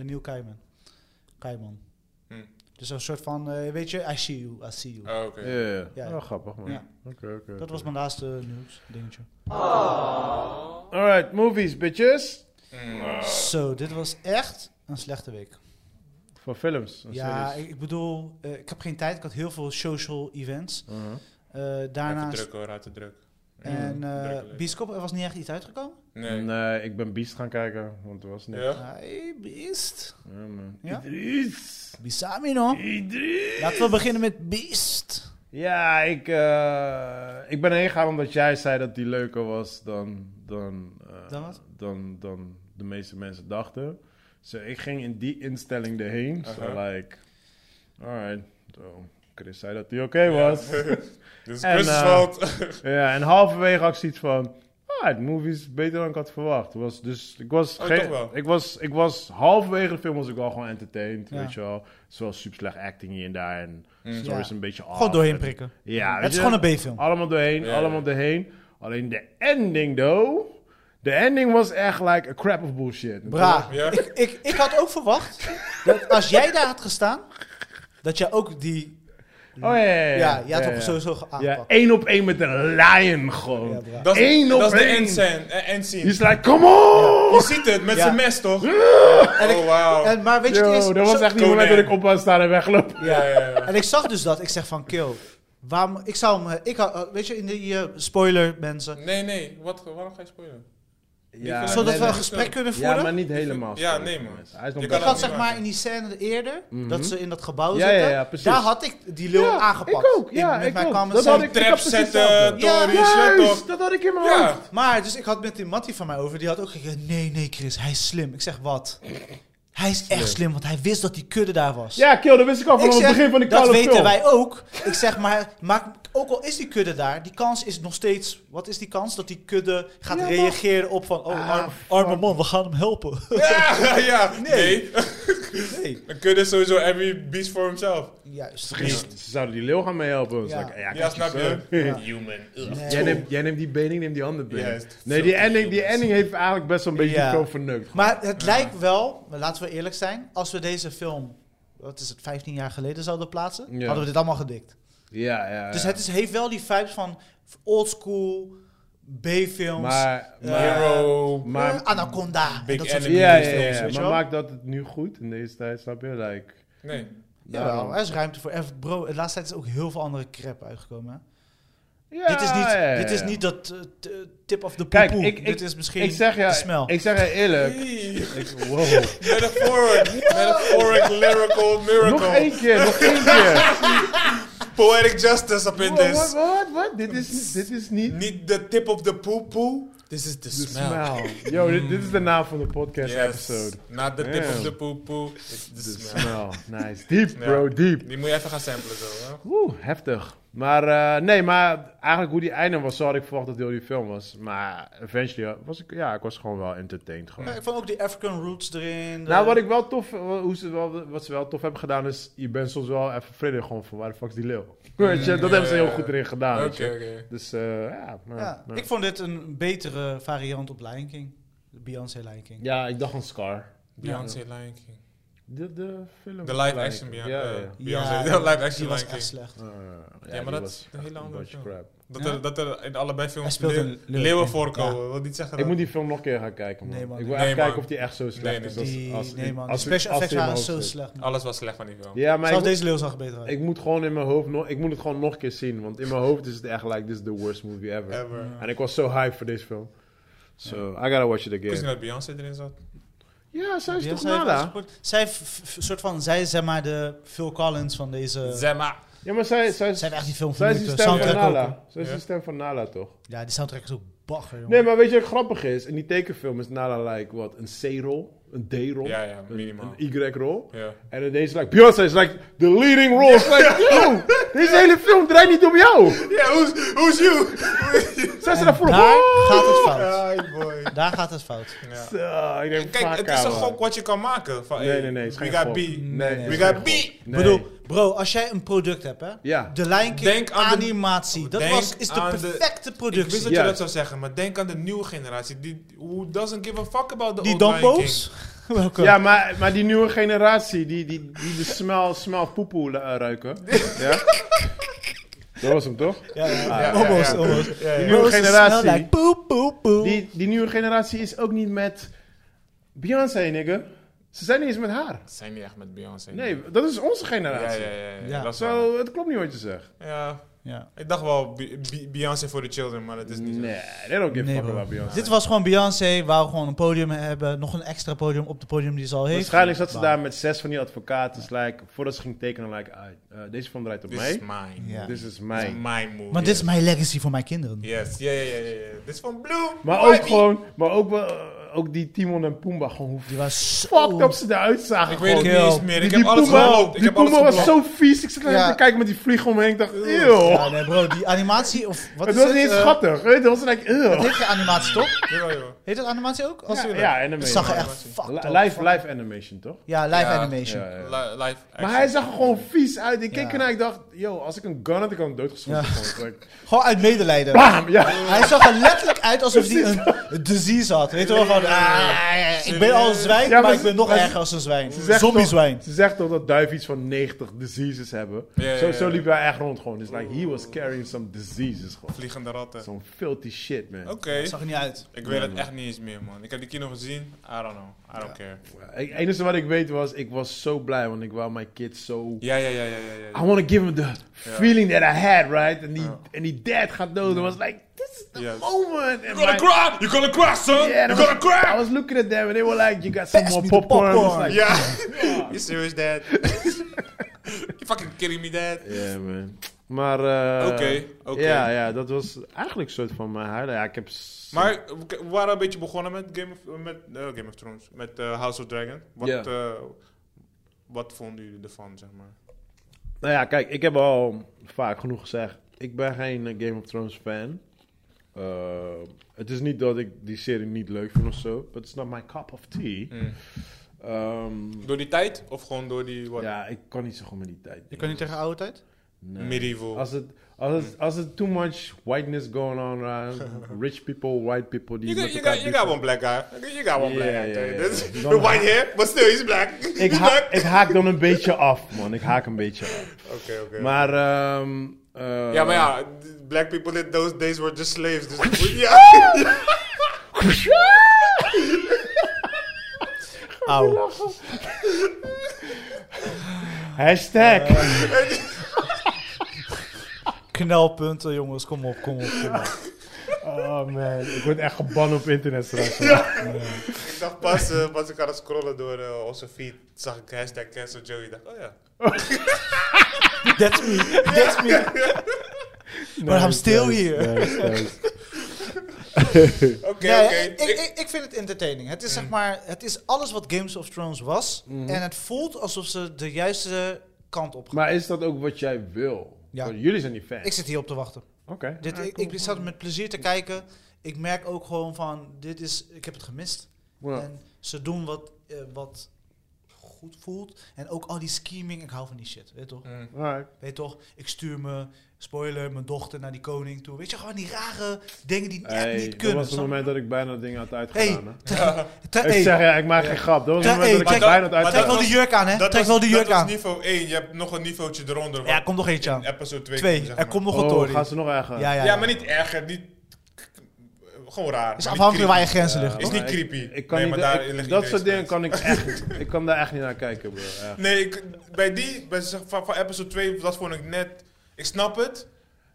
N- Neil Kaiman. Kaiman. Hm. Dus een soort van, eh, weet je, I see you, I see you. Oh, oké. Ja, ja, ja. Ja. Wel grappig, man. Ja. Oké, oké. Dat was mijn laatste nieuws, dingetje. Alright, movies, bitches. Mm. Zo, dit was echt een slechte week. Van films Oh, en Ja, series. ik, ik bedoel, eh, ik heb geen tijd, ik had heel veel social events. Uh-huh. Eh, Uit de daarnaast, druk hoor, uit de druk. en Ja, eh drukke leven. Bioscoop, er was niet echt iets uitgekomen. Nee. Nee, eh, ik ben Beast gaan kijken, want er was niks. Ja? Hey, beest. Ja, man. Ja? Idris! Bisamino. Idris! Laten we beginnen met Beast. Ja, ik, eh, ik ben heen gegaan omdat jij zei dat die leuker was dan, dan, eh, Dan wat? dan, dan de meeste mensen dachten. Dus ik ging in die instelling erheen. So, Aha. like, alright. So, Chris zei dat die oké was. Dus En, Chris eh, Veld. ja, en halverwege had ik zoiets van... Ah, het movie is beter dan ik had verwacht. Het Was dus ik was, Oh, geen- toch wel? ik was, ik was halverwege de film was ik wel gewoon entertained, Ja. weet je wel. Zowel super slecht acting hier en daar en Mm. story Ja. is een beetje af. Gewoon doorheen En- prikken. Ah, Ja, weet het is je? gewoon een B-film. Allemaal doorheen, Ja, allemaal ja. doorheen. Alleen de ending, though. De ending was echt like a crap of bullshit. Oh, Bra. Ja. Ik, ik, ik had ook verwacht dat als jij daar had gestaan, dat jij ook die... Oh ja, ja, ja. Ja, jij had ja, hem ja. sowieso Ja, aangepakt. één op één met een lion Ja, gewoon. bra. Dat is Eén op dat is de één. endscene. eh, endscene. He's like, come on! Je ziet het met Ja. zijn mes toch? En ik- oh wauw. En, maar weet je, het Yo, is, dat was zo- echt niet het moment dat Conan. ik op was staan en weglopen. ja, ja, ja. En ik zag dus dat. Ik zeg van, kill. Waarom, ik zou hem... eh, Ik had, eh, weet je, in die eh, spoiler, mensen. Nee, nee. Wat, waarom ga je spoilen? Ja, vind- zodat nee, we een nee. gesprek kunnen ja, voeren. maar niet helemaal. Ja, sorry, nee, man. mensen. Hij is nog Je best- ik kan had dat zeg niet maar maken. in die scène eerder, dat ze in dat gebouw Mhm. Ja, zitten. ja, ja, precies. Daar had ik die lul Ja, aangepakt. ik ook. Ja, In- met ik mijn ook. common Dat sense. had ik- Trap had precies zetten, hetzelfde. Tori, Ja, shit Juist, toch? dat had ik in mijn Ja. hoofd. Maar, dus ik had met die Mattie van mij over, die had ook gezegd, nee, nee Chris, hij is slim. Ik zeg, wat? Hij is echt slim, want hij wist dat die kudde daar was. Ja, kill, dat wist ik al Ik vanaf het zeg, begin van de Dat koude weten film. wij ook. Ik zeg maar, maak, ook al is die kudde daar, die kans is nog steeds. Wat is die kans dat die kudde gaat Ja, Ah, maar- reageren op van. Oh, arm- arme man, we gaan hem helpen. Ja, ja, nee. Nee. Dan kunnen sowieso every beast for himself. Juist. Ze zouden die leeuw gaan meehelpen. Dus Ja. like, ja, Ja, kijk, snap zo. je? Human. Ugh. Nee. Jij neemt, jij neemt die been, ik neem die andere been. Ja, het is nee, die zo ending, veel die mensen. ending heeft eigenlijk best wel een beetje Ja. de film verneukt. Maar het lijkt wel, maar laten we eerlijk zijn, als we deze film, wat is het, 15 jaar geleden zouden plaatsen, Ja. hadden we dit allemaal gedikt. Ja, ja. ja. Dus het is, heeft wel die vibes van oldschool B-films. maar, eh, maar, Hero. maar- eh, Anaconda. Big en dat soort Enemy. ja, ja, films, ja, ja. weet je Maar wel? maakt dat het nu goed in deze tijd, snap je? Like, Nee. Jawel, er is ruimte voor. En Bro, de laatste tijd is ook heel veel andere crap uitgekomen. Hè? Ja, dit, is niet, ja, ja. dit is niet dat eh, t- eh, tip of the Kijk, poepoe. ik- ik- Dit is misschien Ik zeg de ja, smel. ik zeg je eerlijk. Hey. ik, wow. Metaphoric, metaphoric, lyrical, miracle. Nog één keer, nog één keer. Poetic justice up in Wat, wat, this. wat, wat? Dit is, niet- dit is niet Niet de tip of the poo-poo. This is the, de smel. Yo, dit, dit is de naam van de podcast episode. Not the tip of Damn. the poo-poo. It's the De smell. smel. Nice. Diep, Ja. bro, diep. Die moet je even gaan samplen zo. Hè? Oeh, heftig. Maar eh, nee, maar eigenlijk hoe die einde was, zo had ik verwacht dat het heel die film was. Maar eventually eh, was ik, ja, ik was gewoon wel entertained gewoon. Maar ik vond ook die African roots erin. de- Nou, wat ik wel tof, eh, hoe ze wel, wat ze wel tof hebben gedaan is, je bent soms wel even vredig gewoon van waar de fuck is die leeuw? Weet je, dat ja, hebben ze heel Mm. ja. goed erin gedaan, Oké, weet je. oké. Dus eh, ja, maar, ja, maar- Ik vond dit een betere variant op Lion King. De Beyoncé Lion King. ja, ik dacht aan Scar. Beyoncé Lion King. De, de film. De live action Beyoncé. Ja, ja, ja. eh, Beyoncé, de live action die was Lion echt King. slecht. Eh, ja, maar die dat was is een echt hele andere bunch film. crap. Dat Ja. er, dat er in allebei Hij films speelt leeu- een leeuw. leeuwen Ja. voorkomen. Wil niet zeggen Ik dat- moet die film nog een keer gaan kijken, man. Nee, man. Ik wil Nee, echt man. kijken of die echt zo slecht Nee, is. nee. Als, Die, als, nee man, die als- special als effects die in waren mijn zo hoofd zit. slecht. man. Alles was slecht van die film. Ja, maar ik Zelfs moet, deze leeuw zag er beter uit. ik moet gewoon in mijn hoofd nog... Ik moet het gewoon nog een keer zien. Want in mijn hoofd is het echt like... This is the worst movie ever. Ever. Ik En ik was zo hyped voor deze film. So, I gotta watch it wist niet again. dat Beyoncé erin zat. Ja, zij is Die toch heeft- zij heeft nada? gescoord. Zij heeft f- f- soort van, zij is zeg maar de Phil Collins van deze... Zij Zeg maar. Ja, maar zij, zij, heeft echt die film zij is die vernieuwd, de stem van soundtrack ook. Nala. Zij is Ja. die stem van Nala, toch? Ja, die soundtrack is ook bagger, jongen. Nee, maar weet je wat grappig is? In die tekenfilm is Nala like, wat, een C-rol? Een D-rol? Ja, ja, een, minimaal. een Y-rol? Ja. En in deze, like, Beyoncé is like, the leading role. It's like, yo, deze hele film draait niet om jou. Ja, who's, who's you? Zij ze daarvoor, Daar wow. gaat het fout. Hi boy. Daar gaat het fout. Ja. Zo, Ah, ik denk, Kijk, fuck het is een haar, man. gok wat je kan maken. Van, Nee, hey, nee, nee. het is We geen got gok. B. Nee, nee, We het is got B. geen gok. Nee. bedoel, bro, als jij een product hebt, hè? Ja. De Lion King Denk aan de- animatie. dat denk was, is de aan de- perfecte Ik productie. wist dat Ja. je dat zou zeggen, maar denk aan de nieuwe generatie. Die, who doesn't give a fuck about the die old Lion Dumbo's? King. Welke? Ja, maar, maar die nieuwe generatie, die, die, die de smel, smel poepoe eh, ruiken. ja? Dat was hem, toch? Ja, ja, ja, ja, almost, ja. almost. Die Bro, nieuwe ze generatie. smell like poep, poep, poep. Die, die nieuwe generatie is ook niet met Beyoncé, nigga. Ze zijn niet eens met haar. Zijn niet echt met Beyoncé. Nee, dat is onze Ja, ja, generatie. ja. ja, Ja. Dat is Zo, waar. het klopt niet wat je zegt. Ja, Ja. ik dacht wel Be- Be- Beyoncé for the children, maar dat is niet zo. Nee, they don't give a Nee, fuck bro. about Beyoncé. Dit was gewoon Beyoncé, waar we gewoon een podium hebben. Nog een extra podium op de podium die ze al heeft. Waarschijnlijk zat ze Bah. daar met zes van die advocaten. Dus like, voordat ze ging tekenen, like, ah, eh, deze film draait op This mij. is mine. Ja. Dit is This is mijn. my movie. Maar dit is mijn legacy voor mijn kinderen. Yes, ja, ja, ja, ja. ja. Dit is van Blue. Maar ook gewoon, maar ook, wel, eh, ook die Timon en Pumba, gewoon hoe Die was zo... fucked up ze eruit zagen. Ik weet het niet gewoon. eens meer. Ik die heb alles Pumba- gebloopt. Ik Die heb alles Puma was gebloopt. zo vies. Ik zat Ja. even te kijken met die vlieg omheen. Ik dacht, eeuw. Ja, nee bro, die animatie of... Wat Het is was niet eens eh, schattig. Weet je, het was like, eeuw. Dat heeft je animatie toch? Jawel, joh. Heet dat animatie ook? Als Ja, u- ja, Het animation. zag er echt fucked Li- up. live, live animation, toch? Ja, live Ja. animation. Ja, ja. Li- Live action. Maar hij zag er gewoon vies uit. Ik keek Ja. ernaar en ik dacht, yo, als ik een gun had, ik had hem doodgeschoten. Ja. gewoon. Like, Gewoon uit medelijden. bam! Ja. Hij zag er letterlijk uit alsof hij een disease had. Weet je wel, van... ah, ik ben al een zwijn, Ja, maar maar ik ze- ben nog maar ze- erger als een zwijn. Ze zegt Zombie toch- zwijn. Ze zegt toch dat duiven iets van 90 diseases hebben. Ja, ja, zo, ja. zo liep hij echt rond gewoon. Dus like, he was carrying some diseases gewoon. Vliegende ratten. Oké. Zo'n filthy shit, man. Zag er niet uit. Ik weet het echt niet eens meer, man. Ik heb die kino gezien. I don't know. I don't care. Het enige wat ik weet was, ik was zo blij, want ik wou mijn kids zo... Ja, ja, ja, ja, ja. ja. I want to give him the feeling that I had, right? En die, en die dad gaat dood en was like, this is the Yes. moment. And You gonna my- cry! You gonna cry, son! Yeah, you and I gonna was- I cry! was looking at them and they were like, you got some Pass more me the popcorn. I was popcorn. like, Ja! You serious, dad? you fucking kidding me, dad? Yeah, man. Maar eh, Oké, oké. Ja, ja, dat was eigenlijk een soort van mijn highlight. Ja, ik heb... s- Maar we waren een beetje begonnen met Game of, met, eh, Game of Thrones, met eh, House of Dragon. Wat, Ja. eh, wat vonden jullie ervan, zeg maar? Nou ja, kijk, ik heb al vaak genoeg gezegd. Ik ben geen eh, Game of Thrones fan. Eh, het is niet dat ik die serie niet leuk vind of zo. But it's not my cup of tea. Mm. Ehm, Door die tijd of gewoon door die wat, ja, ik kan niet zo goed met die tijd. Je kan niet tegen oude tijd? Nee. medieval? Als het, als, het, als het too much whiteness going on around, rich people, white people, die You got, met you, elkaar got, you got beefen. one black guy. You got one black Yeah, guy. yeah, This- yeah. the white hair, but still he's black. ik, he's haak, black. ik haak dan een beetje af, man. Ik haak een beetje af. Oké, oké. Maar, ehm eh, Ja, maar ja, d- black people in those days were just slaves. Dus, ja. Auw. Hashtag. Knelpunten, jongens. Kom op, kom op. Kom op. Oh man, ik word echt gebannen op internet straks. Ik dacht pas, eh, pas ik aan het scrollen door eh, onze feed, zag ik hashtag cancel Joey. Ik dacht, oh ja. That's me. That's me. But I'm still here. Oké, Nee, oké. ik, ik, ik, vind het entertaining. Mm. Het is, zeg maar, het is alles wat Games of Thrones was. En het voelt alsof ze de juiste kant op gaan. Maar is dat ook wat jij wil? Ja. Want jullie zijn niet fan. Ik zit hierop te wachten. Oké. Dit, ik, ik zat met plezier te kijken. Ik merk ook gewoon van, dit is, ik heb het gemist. Ja. En ze doen wat, eh, wat goed voelt. En ook al die scheming, ik hou van die shit, weet je toch? Mm. Alright. Weet je toch, ik stuur me, spoiler, mijn dochter naar die koning toe. Weet je, gewoon die rare dingen die echt Hey, niet dat kunnen. was het snap je? moment dat ik bijna dat ding had Hey, uitgedaan. hè. Trek- Ik hey, zeg ja, ik maak geen grap. Dat was het Ja, moment hey, dat ik het maar bijna dat- had maar Trek uitgedaan. wel die jurk aan, hè? Dat Trek was- wel die jurk dat was aan. niveau 1, je hebt nog een niveautje eronder. Ja, want kom nog eentje aan. Episode 2. Twee, er komt nog een Oh, Tory. gaan ze nog erger? Ja, ja, ja, ja. maar niet erger, niet... Gewoon raar. Het is maar niet afhankelijk waar je creepy. grenzen Ja, liggen. Is maar niet ik- creepy. Ik, kan Nee, niet, maar daar ik- ligt dat iedereen soort dingen spijt. kan ik echt, ik kan daar echt niet naar kijken, bro. Echt. Nee, ik, bij die, bij, zeg, van, van episode 2, dat vond ik net... Ik snap het,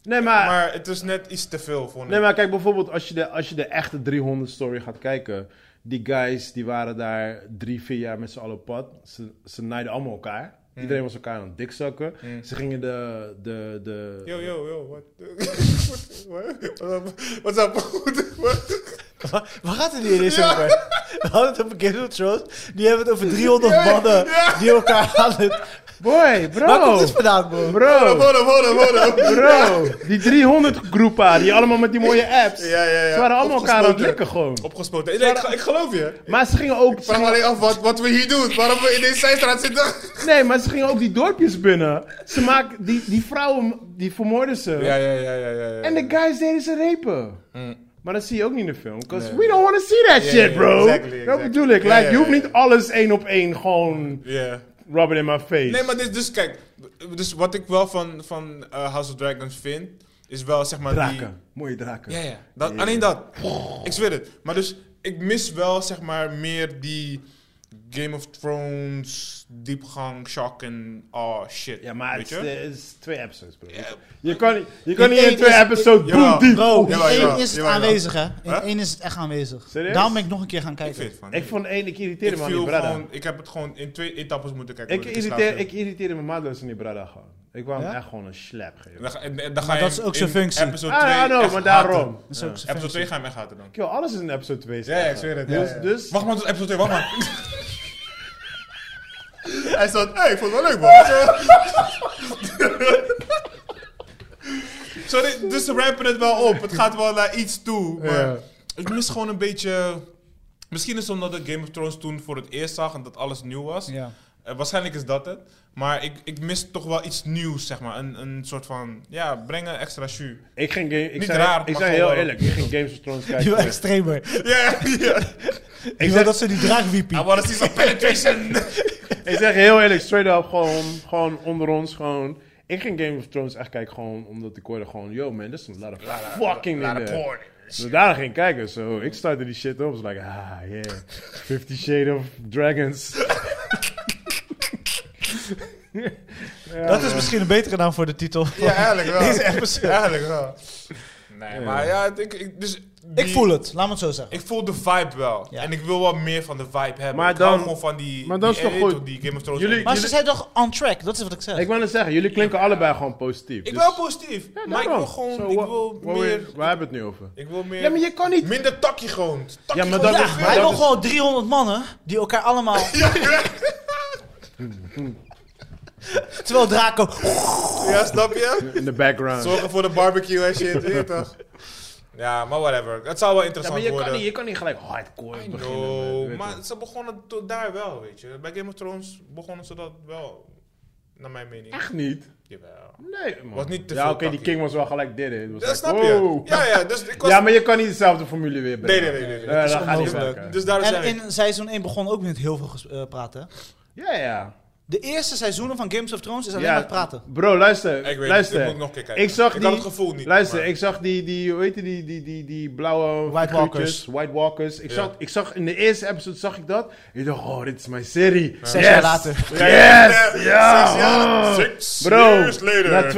Nee, maar, maar het is net iets te veel, vond ik. nee, maar kijk bijvoorbeeld als je, de, als je de echte 300 story gaat kijken. Die guys die waren daar drie, vier jaar met z'n allen op pad. Ze, ze naaiden allemaal elkaar. Iedereen was elkaar aan het dikzakken. Ze gingen de, de, de, Yo, yo, yo, what? What- what? What's up? What? Waar waar gaat het hier eens over? We hadden het over Game of Thrones. Die hebben het over 300 mannen die elkaar aan het... Boy, bro. Waar komt dit vandaan, bro? Bro, Hold up, hold up, hold up. bro. Die 300 groepa, die allemaal met die mooie apps. Ja, ja, ja. Ze waren allemaal elkaar aan het Opgesloten. likken gewoon. Opgespoten. Nee, ik, ge- ik geloof je. Maar ze gingen ook... Ik vraag me alleen af wat, wat we hier doen. Waarom we in deze zijstraat zitten. Nee, maar ze gingen ook die dorpjes binnen. Ze maak, die, die vrouwen, die vermoorden ze. ja, ja, ja. ja, ja. En de guys deden ze repen. Maar dat zie je ook niet in de film. Because we don't want to see that shit, ja, bro. exactly, Dat exactly. bedoel ik. Ja, Like, ja, je hoeft ja, niet alles één op één gewoon Ja. rubbing in my face. Nee, maar dit, dus kijk. Dus wat ik wel van, van eh, House of Dragons vind, is wel zeg maar die... draken. Mooie draken. Ja, ja. Dat, Alleen dat. Ik zweer het. Maar dus, ik mis wel zeg maar meer die Game of Thrones, diepgang, shock en oh shit. Ja, maar Weet het je? is, het is twee episodes, bro. Je kan, niet- je kan niet in één twee is- episodes boom Jawel. diep. Bro, in Jawel, jawel, één is het jawel, jawel. aanwezig, hè? In Huh? één is het echt aanwezig. Serieus? Daarom ben ik nog een keer gaan Ik vind kijken. het van. Ik vond één, ik irriteerde Ik me aan die viel brada. gewoon, ik heb het gewoon in twee etappes moeten kijken. Ik, voordat in irriteer, slaap viel. ik irriteerde me maatloos aan die brada gewoon. Ik wou hem Ja? echt gewoon een slap geven. Dan ga, en- en dan ga je dat is hem ook zijn in functie. Episode Ah, 2 ja, no, echt maar haten. daarom. Dat is ook Episode zijn functie. 2 ga je hem echt haten dan. Yo, alles is in episode 2. Ja, ja, ik zweer het. Ja, Dus, ja. dus Wacht maar tot episode 2, wacht maar. Hij staat, hey, ik vond het wel leuk man. Zo, dit- dus ze rampen het wel op. Het gaat wel naar iets toe. Maar Ja. ik mis gewoon een beetje... Misschien is het omdat ik Game of Thrones toen voor het eerst zag en dat alles nieuw was. Ja. Eh, waarschijnlijk is dat het. Maar ik, ik mis toch wel iets nieuws, zeg maar. Een, een soort van, ja, breng een extra jus. ik ging game, ik Niet zei, raar, ik zei maar gewoon heel wel. eerlijk, ik ging Games of Thrones Die wil kijken. extremer. Ja, ja. ik, Ik wil zeg, dat ze die draagwiepie. I wanna see some penetration. ik zeg heel eerlijk, straight up, gewoon, gewoon onder ons, gewoon. Ik ging Game of Thrones echt kijken gewoon omdat ik hoorde gewoon, yo man, this is a lot of fucking in Not a there. porn. Dus daar ging ik kijken, zo. ik startte die shit op, was like, ah yeah, Fifty Shade of Dragons. Dat is misschien een betere naam voor de titel. Ja, eigenlijk wel. Deze episode. Eigenlijk wel. Nee, maar ja, ik, ik, dus Ik die- voel het, laat me het zo zeggen. Ik voel de vibe wel. Ja. En ik wil wel meer van de vibe hebben. Maar ik hou dan- gewoon van die, maar dat die is toch edit goed? of die Game of Thrones. Jullie- edit. Maar ze jullie- zei toch on track, dat is wat ik zeg. Ik wou net zeggen, jullie klinken allebei gewoon positief. ik dus- ben wel positief. maar ik wil daarom. gewoon... Zo, ik wa- wil wa- meer... Waar hebben we het nu over? Ik wil meer... Ja, maar je kan niet... Minder takkie gewoon. Takkie Ja, maar gewoon dat ja, is- veel. hij dat wil is- gewoon 300 mannen die elkaar allemaal. Terwijl Draco. Ja, snap je? In de background. Zorgen voor de barbecue en shit, weet je toch? Ja, maar whatever. Het zou wel Ja, interessant maar je kan, worden. niet, je kan niet gelijk hardcore beginnen. No, weet je. maar ze begonnen tot daar wel, weet je. Bij Game of Thrones begonnen ze dat wel, naar mijn mening. Echt niet? Jawel. Nee, man. Was niet te ja, veel oké, die takkie. King was wel gelijk dit. hè. Het was Dat like, snap wow. je. Ja, ja, dus ik was... oh. Ja, maar je kan niet dezelfde formule weer Nee, brengen. nee, nee. nee, nee. Eh, dat gaat niet Dus- werken. Dus daar En zijn ik. in seizoen 1 begon ook met heel veel ges- eh, praten. hè. Ja, ja. De eerste seizoenen van Games of Thrones is alleen ja, maar praten. Bro, luister. Ik weet luister. niet, ik moet nog een keer kijken. Ik zag Ik die, had het gevoel niet, Luister, maar- ik zag die, die, hoe heet die, die, die, die, die blauwe White figuurtjes, Walkers. White Walkers. Ik, zag, ik zag, in de eerste episode zag ik dat. Ik dacht, oh, dit is mijn serie. Zes jaar later. Yes! Ja! oh. Six Bro, years later. na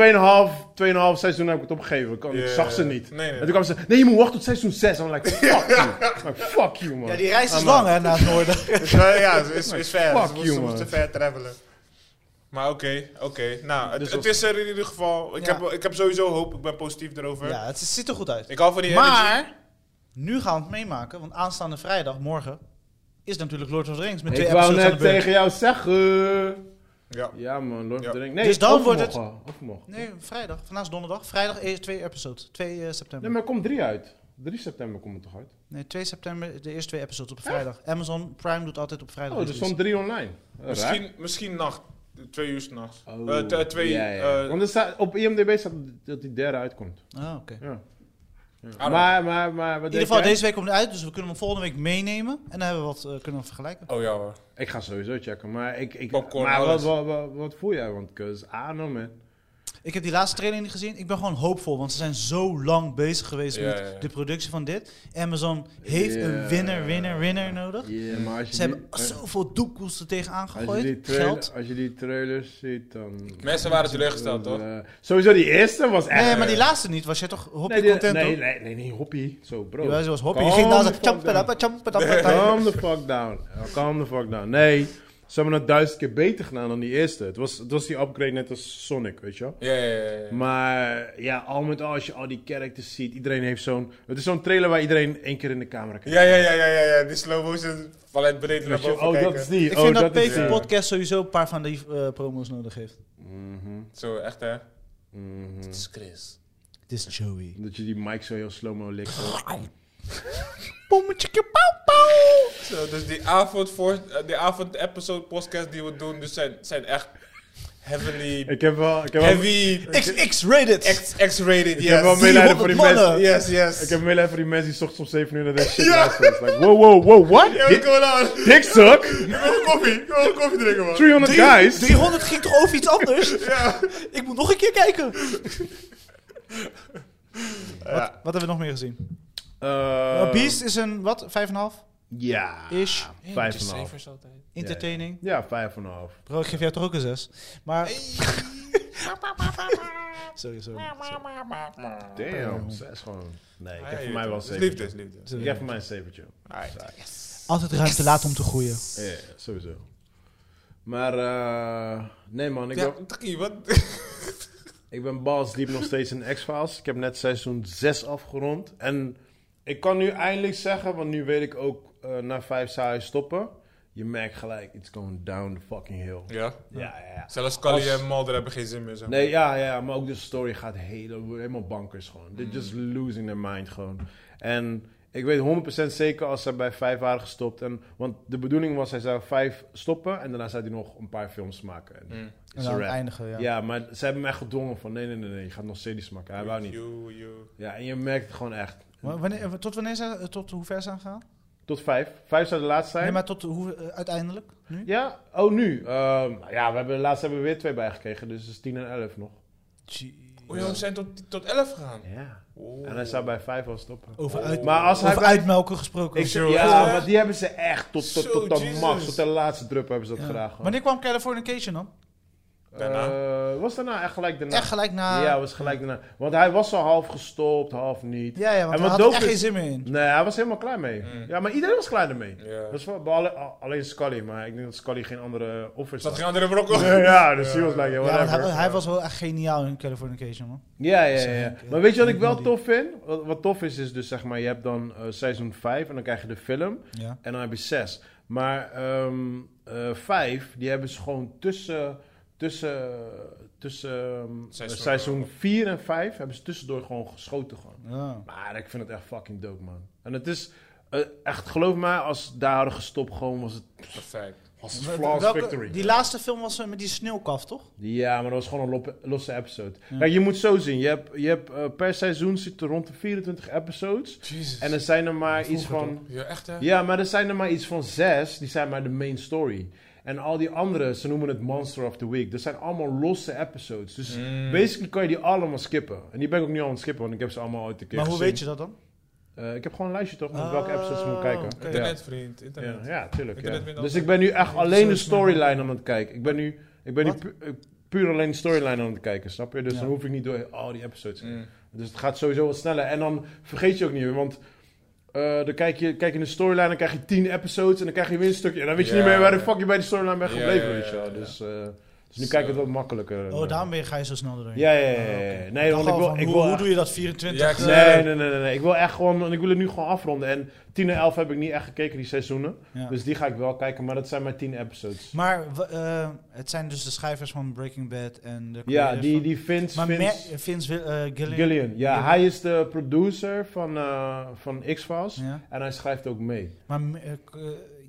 2,5 2,5 seizoen heb ik het opgegeven. Ik, kan- ik Ja. zag ze niet. Nee, nee. En toen kwam ze, nee, je moet wachten tot seizoen 6. En like, fuck you. Like, fuck you, man. Ja, die reis is lang hè, naar het noorden. Dus, eh, ja, het is, is fuck ver. Ze you, moesten moesten man. ver travelen. Maar oké, oké. Nou, het, Dus het op- is er in ieder geval. Ik, Ja. heb, ik heb sowieso hoop. Ik ben positief erover. Ja, het ziet er goed uit. Ik hou van die energy. Maar, nu gaan we het meemaken, want aanstaande vrijdag, morgen, is natuurlijk Lord of the Rings met twee Ik wou episodes aan de net beurt. tegen jou zeggen. Ja. Ja, man, Lord of Ja. the Rings. Nee, Dus dan wordt overmorgen, overmorgen. Nee, vrijdag. Vandaag is donderdag. Vrijdag eerst twee episodes. 2 eh, september. Nee, maar er komt 3 uit. 3 september komt het toch uit? Nee, 2 september de eerste twee episodes op vrijdag. Amazon Prime doet altijd op vrijdag. Oh, er release. stond 3 online. Eh, raar. Misschien, misschien nacht. Twee uur s'nachts. Oh, Eh, t- twee, ja, ja. eh, Want er staat, op IMDb staat dat die derde uitkomt. Ah, oké. Ja. Ah, Maar, maar, maar, wat In ieder denk geval, jij? deze week komt het uit, dus we kunnen hem volgende week meenemen. En dan hebben we wat eh, kunnen we vergelijken. Oh ja hoor. Ik ga sowieso checken, maar ik... ik Popcorn, maar wat, alles. wat, wat, wat voel jij? Want, cause, I don't know, man. Ik heb die laatste trailer niet gezien. Ik ben gewoon hoopvol, want ze zijn zo lang bezig geweest Ja, met ja, ja. de productie van dit. Amazon heeft Ja. een winner, winner, winner nodig. Yeah, maar als je Ze die- eh, hebben zoveel doekoels er tegenaan als je, die gegooid. trailer- Geld. als je die trailers ziet, dan... Mensen waren teleurgesteld, toch? Eh, sowieso die eerste was echt... Nee, maar die laatste niet. Was jij toch hoppie Nee, die- content? nee, hoor? nee, nee, nee, hoppie. Zo, bro. Ja, ze was hoppie. Calm Je ging dansen. the fuck down. Tjampadapa, tjampadapa. Calm the fuck down. Eh, Calm the fuck down. Nee, ze hebben het duizend keer beter gedaan dan die eerste. Het was, het was die upgrade net als Sonic, weet je wel? Ja, ja, ja, ja. Maar ja, al met al, als je al die characters ziet, iedereen heeft zo'n... Het is zo'n trailer waar iedereen één keer in de camera kijkt. Ja, ja, ja, ja, ja, ja. Die slow motion van het beneden naar Weet je, boven oh, kijken. dat is die. Ik oh, vind dat, is PV die. Podcast sowieso een paar van die eh, promos nodig heeft. Zo, echt hè? Het is Chris. Het is Joey. Dat je die mic zo heel slow-mo likt. zo. Pommetje pauw pauw. Zo, dus die avond voor, eh, die avond episode podcast die we doen, dus zijn, zijn echt heavily, Ik heb wel... Ik heb wel, heavy, XX-rated. X- X-rated, ik heb wel yes. medelijden voor die 300 mensen. mannen. Yes, yes. Ik heb medelijden voor die mensen die 's ochtends om 7 uur naar deze shit luisteren. It's Like, wow, wow, wow, what? Yo, what's going on? Dick suck? Ik wil koffie, ik wil koffie drinken man. 300 guys? 300 ging toch over iets anders? Ik moet nog een keer kijken. Wat, wat hebben we nog meer gezien? Eh, Beast is een, wat, 5,5? Ja. Ish. Vijf en een half. Entertaining. Ja, vijf en een half. Bro, ik geef jou toch ook een 6. Maar... sorry, sorry. Damn, zes gewoon. Nee, ik heb voor mij wel Dus- een Het is Dus Liefde, zeventje. het is liefde. Ik heb voor mij een zeventje. Altijd ruimte laten om te groeien. Ja, ja, sowieso. Maar, eh nee man, ik, Ja, ben, Taki, wat? ik ben balls diep nog steeds in X-Files. Ik heb net seizoen 6 afgerond. En ik kan nu eindelijk zeggen, want nu weet ik ook, eh, na vijf zou je stoppen. Je merkt gelijk, it's going down the fucking hill. Ja. Ja, ja, ja. Zelfs Kali Als- en Mulder hebben geen zin meer, zeg maar. Nee, ja, ja, maar ook de story gaat hele- helemaal bankers gewoon. They're just Mm. losing their mind gewoon. En ik weet 100% zeker als ze bij vijf waren gestopt. En, want de bedoeling was, hij zou vijf stoppen en daarna zou hij nog een paar films maken. En Mm. it's En a dan wrap. eindigen, ja. ja. maar ze hebben hem echt gedwongen van nee, nee, nee, nee, je gaat nog series maken. Hij wou niet. You, you. Ja, en je merkt het gewoon echt. Maar Wanneer, eh, tot wanneer zijn, tot hoe ver zijn we gegaan? Tot vijf. Vijf zou de laatste zijn. Nee, maar tot hoe, eh, uiteindelijk? Nu? Ja, oh nu. Ehm, nou ja, we hebben, laatst hebben we weer twee bijgekregen, dus het is 10 en 11 nog. Oh joh, we zijn tot, tot 11 gegaan. Ja. Oh. En hij zou bij vijf al stoppen. Over, uit, Maar als hij over bij- uitmelken gesproken. Ik, Sure. ja, Ja. maar die hebben ze echt tot, tot, Zo, tot de Jesus. max, tot de laatste drup hebben ze dat Ja. gedaan. gewoon. Wanneer kwam Californication dan? Daarna? Eh, was daarna echt gelijk daarna. Echt gelijk na... Ja, was gelijk daarna. Want hij was al half gestopt, half niet. ja, ja, want En hij wat had dope echt is- geen zin meer in. Nee, hij was helemaal klaar mee. Mm. Ja, maar iedereen was klaar ermee. Ja. Dat is wel, behalve- al- alleen Scully, maar ik denk dat Scully geen andere offers Zat had. geen andere brokkel? Nee, ja, dus die was like, yeah, Ja, want whatever. hij, hij was wel echt geniaal in Californication, man. Ja, ja, ja. Zeg ja. ik, eh, Maar weet je wat ik ik wel moet tof vind? Wat, wat tof is, is dus zeg maar, je hebt dan eh, seizoen 5 en dan krijg je de film. Ja. En dan heb je 6. Maar ehm eh 5, die hebben ze gewoon tussen, tussen, tussen ehm, Seizoen- seizoen 4 en 5 hebben ze tussendoor gewoon geschoten gewoon. ja. Maar ik vind het echt fucking dope, man. En het is eh, echt, geloof mij, als daar hadden gestopt, gewoon was het, Perfect. was het flawless Welke- victory. Die laatste film was eh, met die sneeuwkaf, toch? Ja, maar dat was gewoon een lop- losse episode. Kijk, je moet zo zien. Je hebt, je hebt eh, per seizoen zit er rond de 24 episodes. Jezus. En er zijn er maar iets van... Ja, echt hè? Ja, maar er zijn er maar iets van zes, die zijn maar de main story. En al die andere, ze noemen het Monster of the Week. Dat zijn allemaal losse episodes. Dus Hmm. basically kan je die allemaal skippen. En die ben ik ook niet aan het skippen, want ik heb ze allemaal uit de keer Eh, maar hoe weet je dat dan? ik heb gewoon een lijstje toch, met welke episodes ik moet kijken. oké. Ja. Internetvriend, internet. Ja, ja, tuurlijk. Internet ja. wint Dus altijd. ik ben nu echt alleen de Zo is mijn- storyline aan het kijken. Ik ben nu, ik ben nu Wat? pu- eh, puur alleen de storyline aan het kijken, snap je? Dus Ja. dan hoef ik niet door al die episodes heen. Mm. Dus het gaat sowieso wat sneller. En dan vergeet je ook niet meer, want eh, dan kijk je, kijk je in de storyline, dan krijg je tien episodes en dan krijg je weer een stukje. En dan weet je Ja. niet meer waar de fuck je bij de storyline bent Ja, gebleven, ja, ja, weet je wel. ja, ja. Dus, eh, dus nu Zo. kijk ik het wat makkelijker. eh. Oh, daarom ben je, ga je zo snel doorheen. Ja, ja, ja, ja, Ah, ja. oké. Nee, want dacht ik al wil- van, ik hoe, wil- hoe doe je dat 24? Ja, ik- eh, Nee, nee, nee, nee, nee. Ik wil echt gewoon, ik wil het nu gewoon afronden. En 10 en 11 heb ik niet echt gekeken die seizoenen. ja. Dus die ga ik wel kijken, maar dat zijn maar 10 episodes. Maar w- eh, het zijn dus de schrijvers van Breaking Bad en de Ja, creator die, van- die Vince, Maar Vince Mer- Vince Wil- eh, Gillian. Gillian. Ja, Gillian. hij is de producer van, eh, van X-Files. Ja. En hij schrijft ook mee. Maar me- eh, k- eh,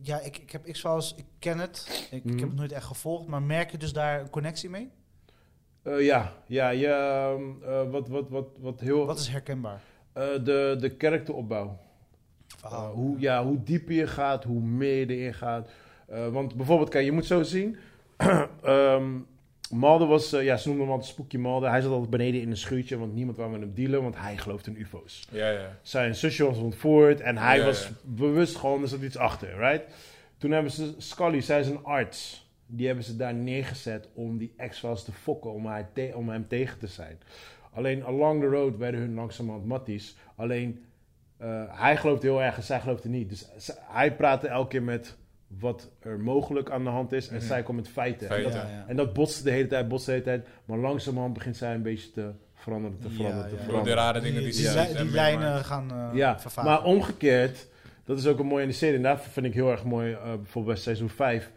ja, ik, ik heb X-Files, ik ken het. Ik, Mhm. ik heb het nooit echt gevolgd. Maar merk je dus daar een connectie mee? Eh, ja, ja, ja ehm, eh, wat, wat, wat, wat heel... Wat is herkenbaar? eh, de, de karakteropbouw. Eh, hoe, ja, hoe dieper je gaat, hoe meer je erin gaat. Eh, want bijvoorbeeld, kijk, je moet zo zien. Ehm Malde was, eh, ja, ze noemden hem altijd Spookje Malde. Hij zat altijd beneden in een schuurtje, want niemand wou met hem dealen, want hij gelooft in ufo's. Ja, ja. zijn zusje was ontvoerd en hij Ja, was ja. bewust gewoon, er zat iets achter, right? Toen hebben ze Scully, zij is een arts, die hebben ze daar neergezet om die ex-files te fokken, om, haar te- om hem tegen te zijn. Alleen along the road werden hun langzamerhand matties. Alleen eh, hij geloofde heel erg en zij geloofde niet. Dus ze- hij praatte elke keer met wat er mogelijk aan de hand is en Mhm. zij kwam met feiten. Feiten. En, Ja, dat, en dat botste de hele tijd, botste de hele tijd. Maar langzamerhand begint zij een beetje te veranderen, te Ja, veranderen, te ja. Door de veranderen. rare Die, dingen die die, ze Ja. ziet li- en die meemaakt. lijnen gaan eh Ja, vervagen. maar omgekeerd, dat is ook een mooi in de serie. En dat vind ik heel erg mooi, eh, bijvoorbeeld bij seizoen 5.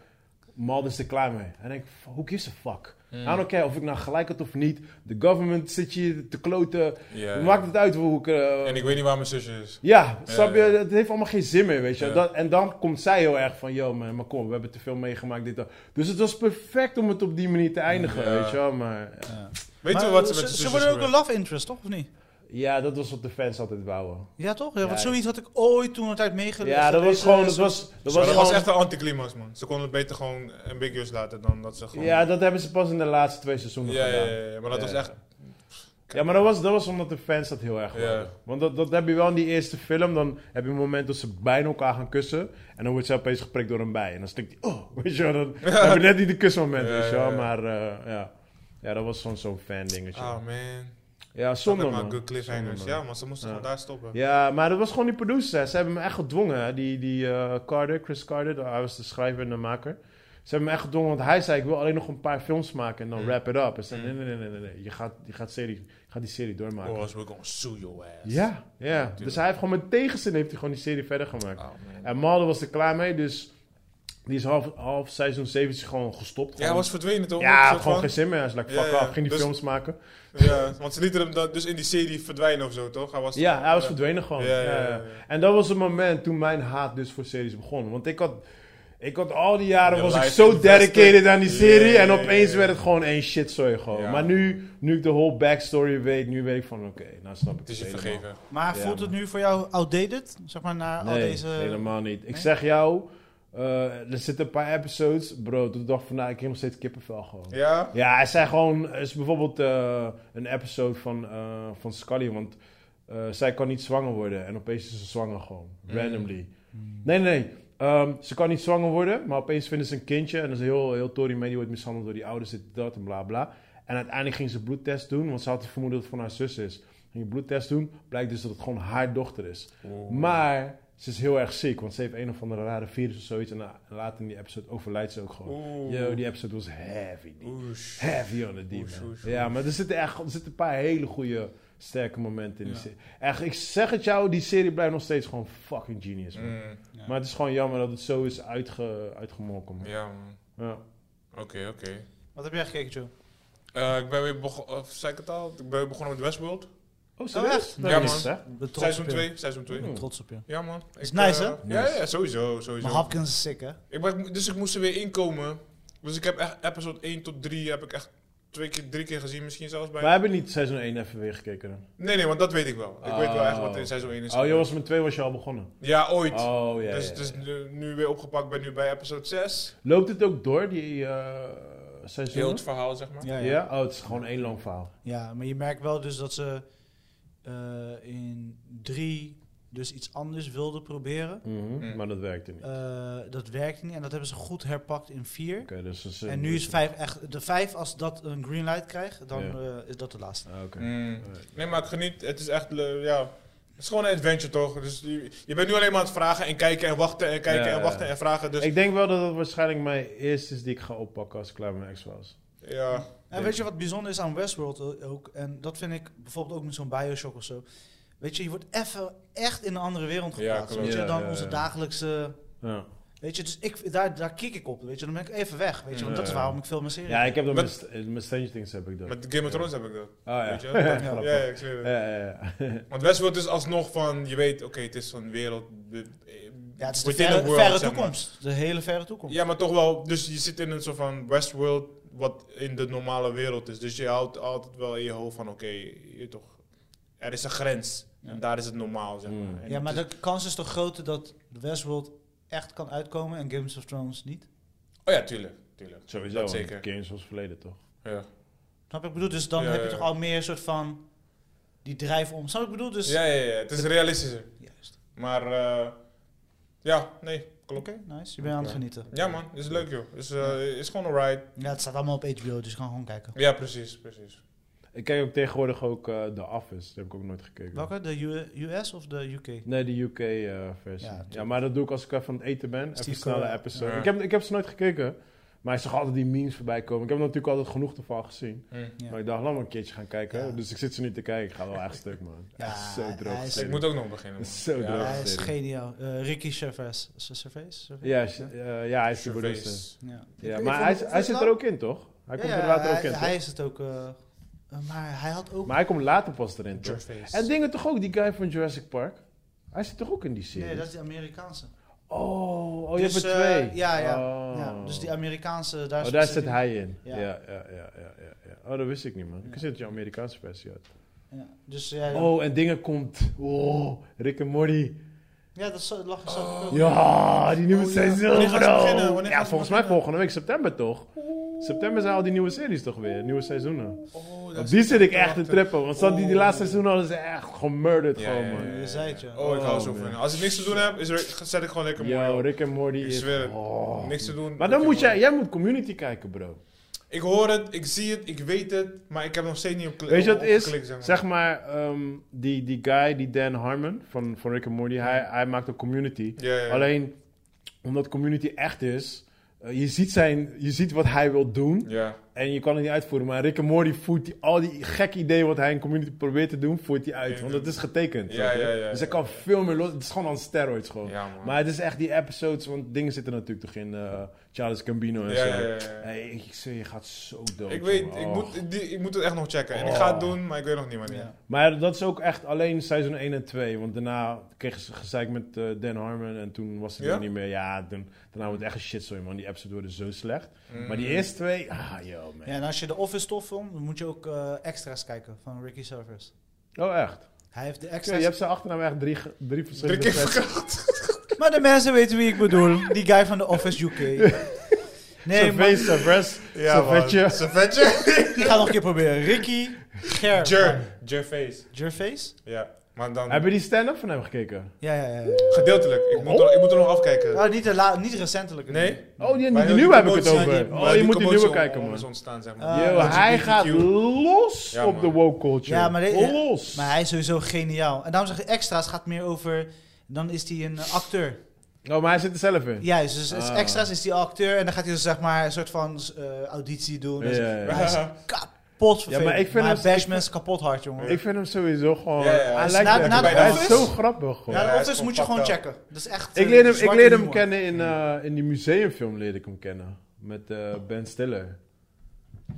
Mald is er klaar mee. En ik denk, f- who gives a fuck? I don't care of ik nou gelijk had of niet. De government zit je te kloten. Ja, ja. Maakt het uit hoe ik... eh, En ik weet niet waar mijn zusje is. ja, snap je? ja. Het heeft allemaal geen zin meer, weet je. Ja. Dat, en dan komt zij heel erg van, yo man, maar kom, we hebben te veel meegemaakt. Dit, dat. dus het was perfect om het op die manier te eindigen, Ja. weet je wel. Maar eh, Weet Maar je wat ze ze, met de ze zusjes worden ook doen? een love interest, toch? Of niet? ja, dat was wat de fans altijd wouden. Ja, toch? Ja, Ja, want ja. zoiets had ik ooit toen een tijd meegelezen. Ja, dat was gewoon... Dat was, dat Maar was dat gewoon was echt een anticlimax, man. Ze konden het beter gewoon ambiguous laten dan dat ze gewoon... Ja, dat hebben ze pas in de laatste twee seizoenen ja, ja, gedaan. Ja, ja, ja, maar dat Ja. was echt... maar dat was, dat was omdat de fans dat heel erg Ja. wilden. Want dat, dat heb je wel in die eerste film. Dan heb je een moment dat ze bijna elkaar gaan kussen. En dan wordt ze opeens geprikt door een bij. En dan stikt die... Oh, weet je wel. Dan, dan heb je net niet de kusmoment, Ja, weet je wel. ja, ja. Maar eh, ja. Ja, dat was zo'n zo'n fan dingetje. Ah, man. ja, zonde Zonder maar man. good cliffhangers. Zonde, man. Ja, maar ze moesten Ja. gewoon daar stoppen. Ja, maar dat was gewoon die producer. hè. Ze hebben hem echt gedwongen. hè. Die, die eh, Carter, Chris Carter. de- Hij was de schrijver en de maker. Ze hebben hem echt gedwongen, want hij zei: Ik wil alleen nog een paar films maken en dan Mm. wrap it up. En ze zei: Mm. Nee, nee, nee, nee, nee, nee. Je gaat, je gaat, serie, je gaat die serie doormaken. Or else we're Oh, gonna sue your ass. Ja, ja. tuurlijk. Dus hij heeft gewoon met tegenzin heeft hij gewoon die serie verder gemaakt. Ah, man. En Mulder was er klaar mee, dus die is half, half seizoen 7 is gewoon gestopt. Ja, hij was verdwenen toch? ja, Een had soort gewoon van- geen zin meer. Hij is like, Ja, fuck ja. off, ging die Dus- films maken. Ja, want ze lieten hem dan dus in die serie verdwijnen of zo, toch? Hij was Ja, hij was verdwenen gewoon. Ja, ja, Ja, ja, ja. ja. En dat was het moment toen mijn haat dus voor series begon. Want ik had, ik had al die jaren Je was ik life zo invested. dedicated aan die Ja, serie. ja, en ja, opeens ja. werd het gewoon één shitzooi gewoon. Ja. Maar nu, nu ik de whole backstory weet, nu weet ik van oké, nou snap ik Het is je helemaal. vergeven. Maar Ja, voelt het man. nu voor jou outdated? Zeg maar, na al Nee, deze... helemaal niet. Ik Nee? zeg jou, eh, er zitten een paar episodes. Bro, toen dacht ik van, nou, ik heb nog steeds kippenvel gewoon. Ja, Ja? er zijn gewoon, er is bijvoorbeeld eh, een episode van, eh, van Scully, want eh, zij kan niet zwanger worden. En opeens is ze zwanger gewoon, randomly. Nee, nee, nee. Ehm, ze kan niet zwanger worden, maar opeens vinden ze een kindje. En dat is heel, heel Tory mee, die wordt mishandeld door die ouders, dit, dat en bla bla. En uiteindelijk ging ze bloedtest doen, want ze had het vermoeden dat het van haar zus is. Ging je bloedtest doen, blijkt dus dat het gewoon haar dochter is. Maar ze is heel erg ziek, want ze heeft een of andere rare virus of zoiets. En la- later in die episode overlijdt ze ook gewoon. Oeh. Yo, die episode was heavy. die. Oesh. Heavy on the deep. Oeh, man. oeh, oeh. Ja, maar er zitten echt er zitten een paar hele goede sterke momenten in die Ja. serie. Echt, ik zeg het jou, die serie blijft nog steeds gewoon fucking genius. Man. Mm, Ja. Maar het is gewoon jammer dat het zo is uitge, uitgemolken. Man. ja, man. Ja. Oh, Oké, oké. Wat heb jij gekeken, Joe? Eh, ik ben weer begonnen, of zei ik het al? Ik ben weer begonnen met Westworld. Oh, serieus? echt? Nee, Ja, dat is man. het, hè? Ik ben trots Seizoen op je. 2, seizoen 2. Ik ben trots op je. Ja man. Ik, Is nice, eh, hè? Ja, ja, sowieso, sowieso. Maar Hopkins is sick, hè? Ik ben, dus ik moest er weer inkomen. Dus ik heb echt episode 1 tot 3 heb ik echt twee keer, drie keer gezien, misschien zelfs We bij. hebben niet seizoen 1 even weer gekeken. dan. Nee, nee, want dat weet ik wel. Ik Oh. weet wel echt wat in seizoen 1 is. Oh, je gebeurd. was met 2 was je al begonnen. Ja, ooit. Oh, ja. dus ja, ja. dus nu, nu weer opgepakt, ben nu bij episode 6. Loopt het ook door, die eh seizoen? Heel het verhaal, zeg maar. Ja, ja. ja. Oh, het is gewoon één lang verhaal. Ja, maar je merkt wel dus dat ze eh, in drie dus iets anders wilden proberen. Mhm, Mm. Maar dat werkte niet. Oké, Eh, dat werkte niet en dat hebben ze goed herpakt in vier. dus dat En nu is vijf echt... De vijf, als dat een green light krijgt, dan eh, is dat de laatste. Ah, Oké. Mm. Nee, maar ik geniet. Het is echt, le- ja... Het is gewoon een adventure, toch? Dus je, je bent nu alleen maar aan het vragen en kijken en wachten en kijken Ja, en ja. wachten en vragen. Dus Ik denk wel dat dat waarschijnlijk mijn eerste is die ik ga oppakken als ik klaar met mijn ex was. ja, En weet je wat bijzonder is aan Westworld o- ook? En dat vind ik bijvoorbeeld ook met zo'n Bioshock of zo. Weet je, je wordt even echt in een andere Ja, wereld geplaatst. klopt. weet je, Ja, dan ja, onze ja. dagelijkse... Ja, Weet je, dus ik, daar, daar kik ik op. Weet je, dan ben ik even weg. Weet je, want Ja, dat is ja. waarom ik veel meer serie ja ik heb dat Met- met, St- eh, met Stranger Things heb ik dat. met Game of Thrones heb ik dat. ah ja. Weet je? Ja, Grappig. ja, ik zweer het. Ja, ja, ja. Want Westworld is alsnog van, je weet, oké, het is zo'n wereld. de- Ja, het is de within verre, a world, verre zeg maar. toekomst. De hele verre toekomst. Ja, maar toch wel. Dus je zit in een soort van Westworld wat in de normale wereld is. Dus je houdt altijd wel in je hoofd van, oké, je toch, er is een grens. En daar is het normaal, zeg maar. Mm. En Ja, maar het is- de kans is toch groter dat Westworld echt kan uitkomen en Games of Thrones niet? Oh ja, tuurlijk. tuurlijk. Sowieso, Dat want zeker. Games was verleden toch? Ja, Snap ik? ik bedoel? Dus dan Ja, heb ja, je ja. toch al meer soort van die drijf om. Snap ik? ik bedoel? Dus... ja, ja, ja, het is realistischer. Juist. Maar, eh, ja, nee, klopt. Oké, nice. Je bent aan het Ja. genieten. Ja man, is leuk joh. Is, eh, is gewoon alright. Ja, het staat allemaal op HBO, dus ik kan gewoon kijken. Ja, precies, precies. Ik kijk ook tegenwoordig ook eh The Office, dat heb ik ook nooit gekeken. Welke? De U- US of de UK? Nee, de UK-versie. Ja, ja, natuurlijk. maar dat doe ik als ik even aan het eten ben. Steve even snelle Carell. episode. Ja. Ik, heb, ik heb ze nooit gekeken, maar ik zag altijd die memes voorbij komen. Ik heb natuurlijk altijd genoeg ervan gezien. Hm. Ja. Maar ik dacht, laat maar een keertje gaan kijken. Ja. Dus ik zit ze nu te kijken. Ik ga wel echt stuk, man. Ja, Echt zo droog. hij is- Ik serie. moet ook nog beginnen. man. Zo Ja, droog. Hij is serie. geniaal. Eh, Ricky Gervais. Is het Gervais? Gervais? Ja, is- eh, ja, hij is de eh, Surface. barista. Ja. Ja, Ik maar vond hij, het- hij is het zit nou- er ook in, toch? Hij komt Ja, er ja, later hij, ook in, toch? Hij is het ook. eh, eh, maar hij had ook... Maar hij komt later pas erin, toch? Surface. En dingen toch ook, die guy van Jurassic Park? Hij zit toch ook in die serie? nee, dat is die Amerikaanse. Oh, oh je Dus, hebt er eh, twee. ja, ja, Oh. ja. Dus die Amerikaanse... Daar, Oh, daar zit zit hij in. Ja. Ja, ja, ja, ja, ja. ja. Oh, dat wist ik niet, man. Ik zit dat je Amerikaanse versie had. Ja, dus ja, Oh, en dingen komt. Oh, Rick en Morty. ja dat zo- lag er zo. Ja, die nieuwe Oh, ja. seizoen, Wanneer gaan ze beginnen? Wanneer bro. gaan Ja, ze volgens mij beginnen? volgende week september, toch? September zijn al die nieuwe series toch weer, nieuwe seizoenen. Oh, dat Op is- die zit ik echt te wachten. trippen, want zat die, die laatste seizoenen hadden ze echt gemurderd Ja, gewoon, ja, man. ja. Je zei het, ja. Oh, ik hou zo Oh, man. van. Als ik niks te doen heb, is er, zet ik gewoon lekker mooi Yo, op. Rick en Morty Ik is... zweer het. Oh. Niks te doen. Maar dan Rick moet en jij, jij moet community kijken, bro. Morty. Ik hoor het, ik zie het, ik weet het, maar ik heb nog steeds niet op klik. Weet je wat op het is? geklikt, Zeg maar, ehm, die, die guy, die Dan Harmon van, van Rick and Morty, hij, hij maakt een community. Ja, ja, ja. Alleen, omdat community echt is, eh, je, ziet zijn, je ziet wat hij wil doen Ja. en je kan het niet uitvoeren. Maar Rick and Morty voert die, al die gekke ideeën wat hij in community probeert te doen, voert hij uit. Want dat is getekend. Ja, snap je? ja, ja, dus ja. hij kan veel meer los. Het is gewoon aan steroids gewoon. Ja, man. maar het is echt die episodes, want dingen zitten natuurlijk toch in eh, Charles Gambino en Ja, zo. ja, ja, ja. Hey, ik ik zweer, je gaat zo dood. Ik weet, jongen. ik Oh. moet, die, ik moet het echt nog checken. En ik ga het doen, maar ik weet nog niet wanneer. Ja. Maar dat is ook echt alleen seizoen 1 en 2. Want daarna kregen ze gezeik met eh, Dan Harmon. En toen was het Ja? er niet meer. Ja, toen, daarna wordt het echt een shitzooi, man. Die episodes worden zo slecht. Mm. Maar die eerste twee... Ah, yo, man. Ja, en als je de Office tof vond, dan moet je ook eh, extra's kijken van Ricky Servers. Oh, echt? Hij heeft de Oké, extra's. je hebt zijn achternaam echt drie, ge- drie Drie verschillende... keer sets. verkracht. Maar de mensen weten wie ik bedoel. Die guy van de Office UK. Nee, maar Servees, Serves, Ja, man. Servetje. Servetje. ik ga nog een keer proberen. Ricky Gervais. Jer. Jerface. Gervais? Ja. Maar dan... Heb je die stand-up van hem gekeken? Ja, ja, ja. ja. Gedeeltelijk. Ik moet, er, ik moet er nog afkijken. Oh, niet, de la- niet recentelijk. Nee? Oh, die, Maar die heel nieuwe heb ik het commotie- ja, over. die- Oh, maar je moet die commotie nieuwe om- kijken, om man. is ontstaan, zeg Ah. maar. Yo, hij LGBTQ. gaat los Ja, op de man. woke culture. Ja, maar de- Oh, los. Maar hij is sowieso geniaal. En daarom zeg ik extra's gaat meer over. Dan is hij een eh, acteur. Oh, maar hij zit er zelf in. Juist, dus is Ah. extra's is hij acteur. En dan gaat hij dus zeg maar een soort van eh, auditie doen. en zo. Ja, ja, ja. Maar hij is kapot vervelend. Ja, maar ik vind maar het- Bashman is kapot hard, jongen. Ik vind hem sowieso gewoon... Ja, ja, ja. Hij Dus lijkt na- me- na de Hij is office- zo grappig gewoon. ja, Ja, de hij is Office gewoon moet je gewoon fucked up. checken. Dat is echt. Ik eh, leerde hem, ik zwarte leerde hem humor. kennen in, eh, in die museumfilm leerde ik hem kennen. Met eh, Ben Stiller.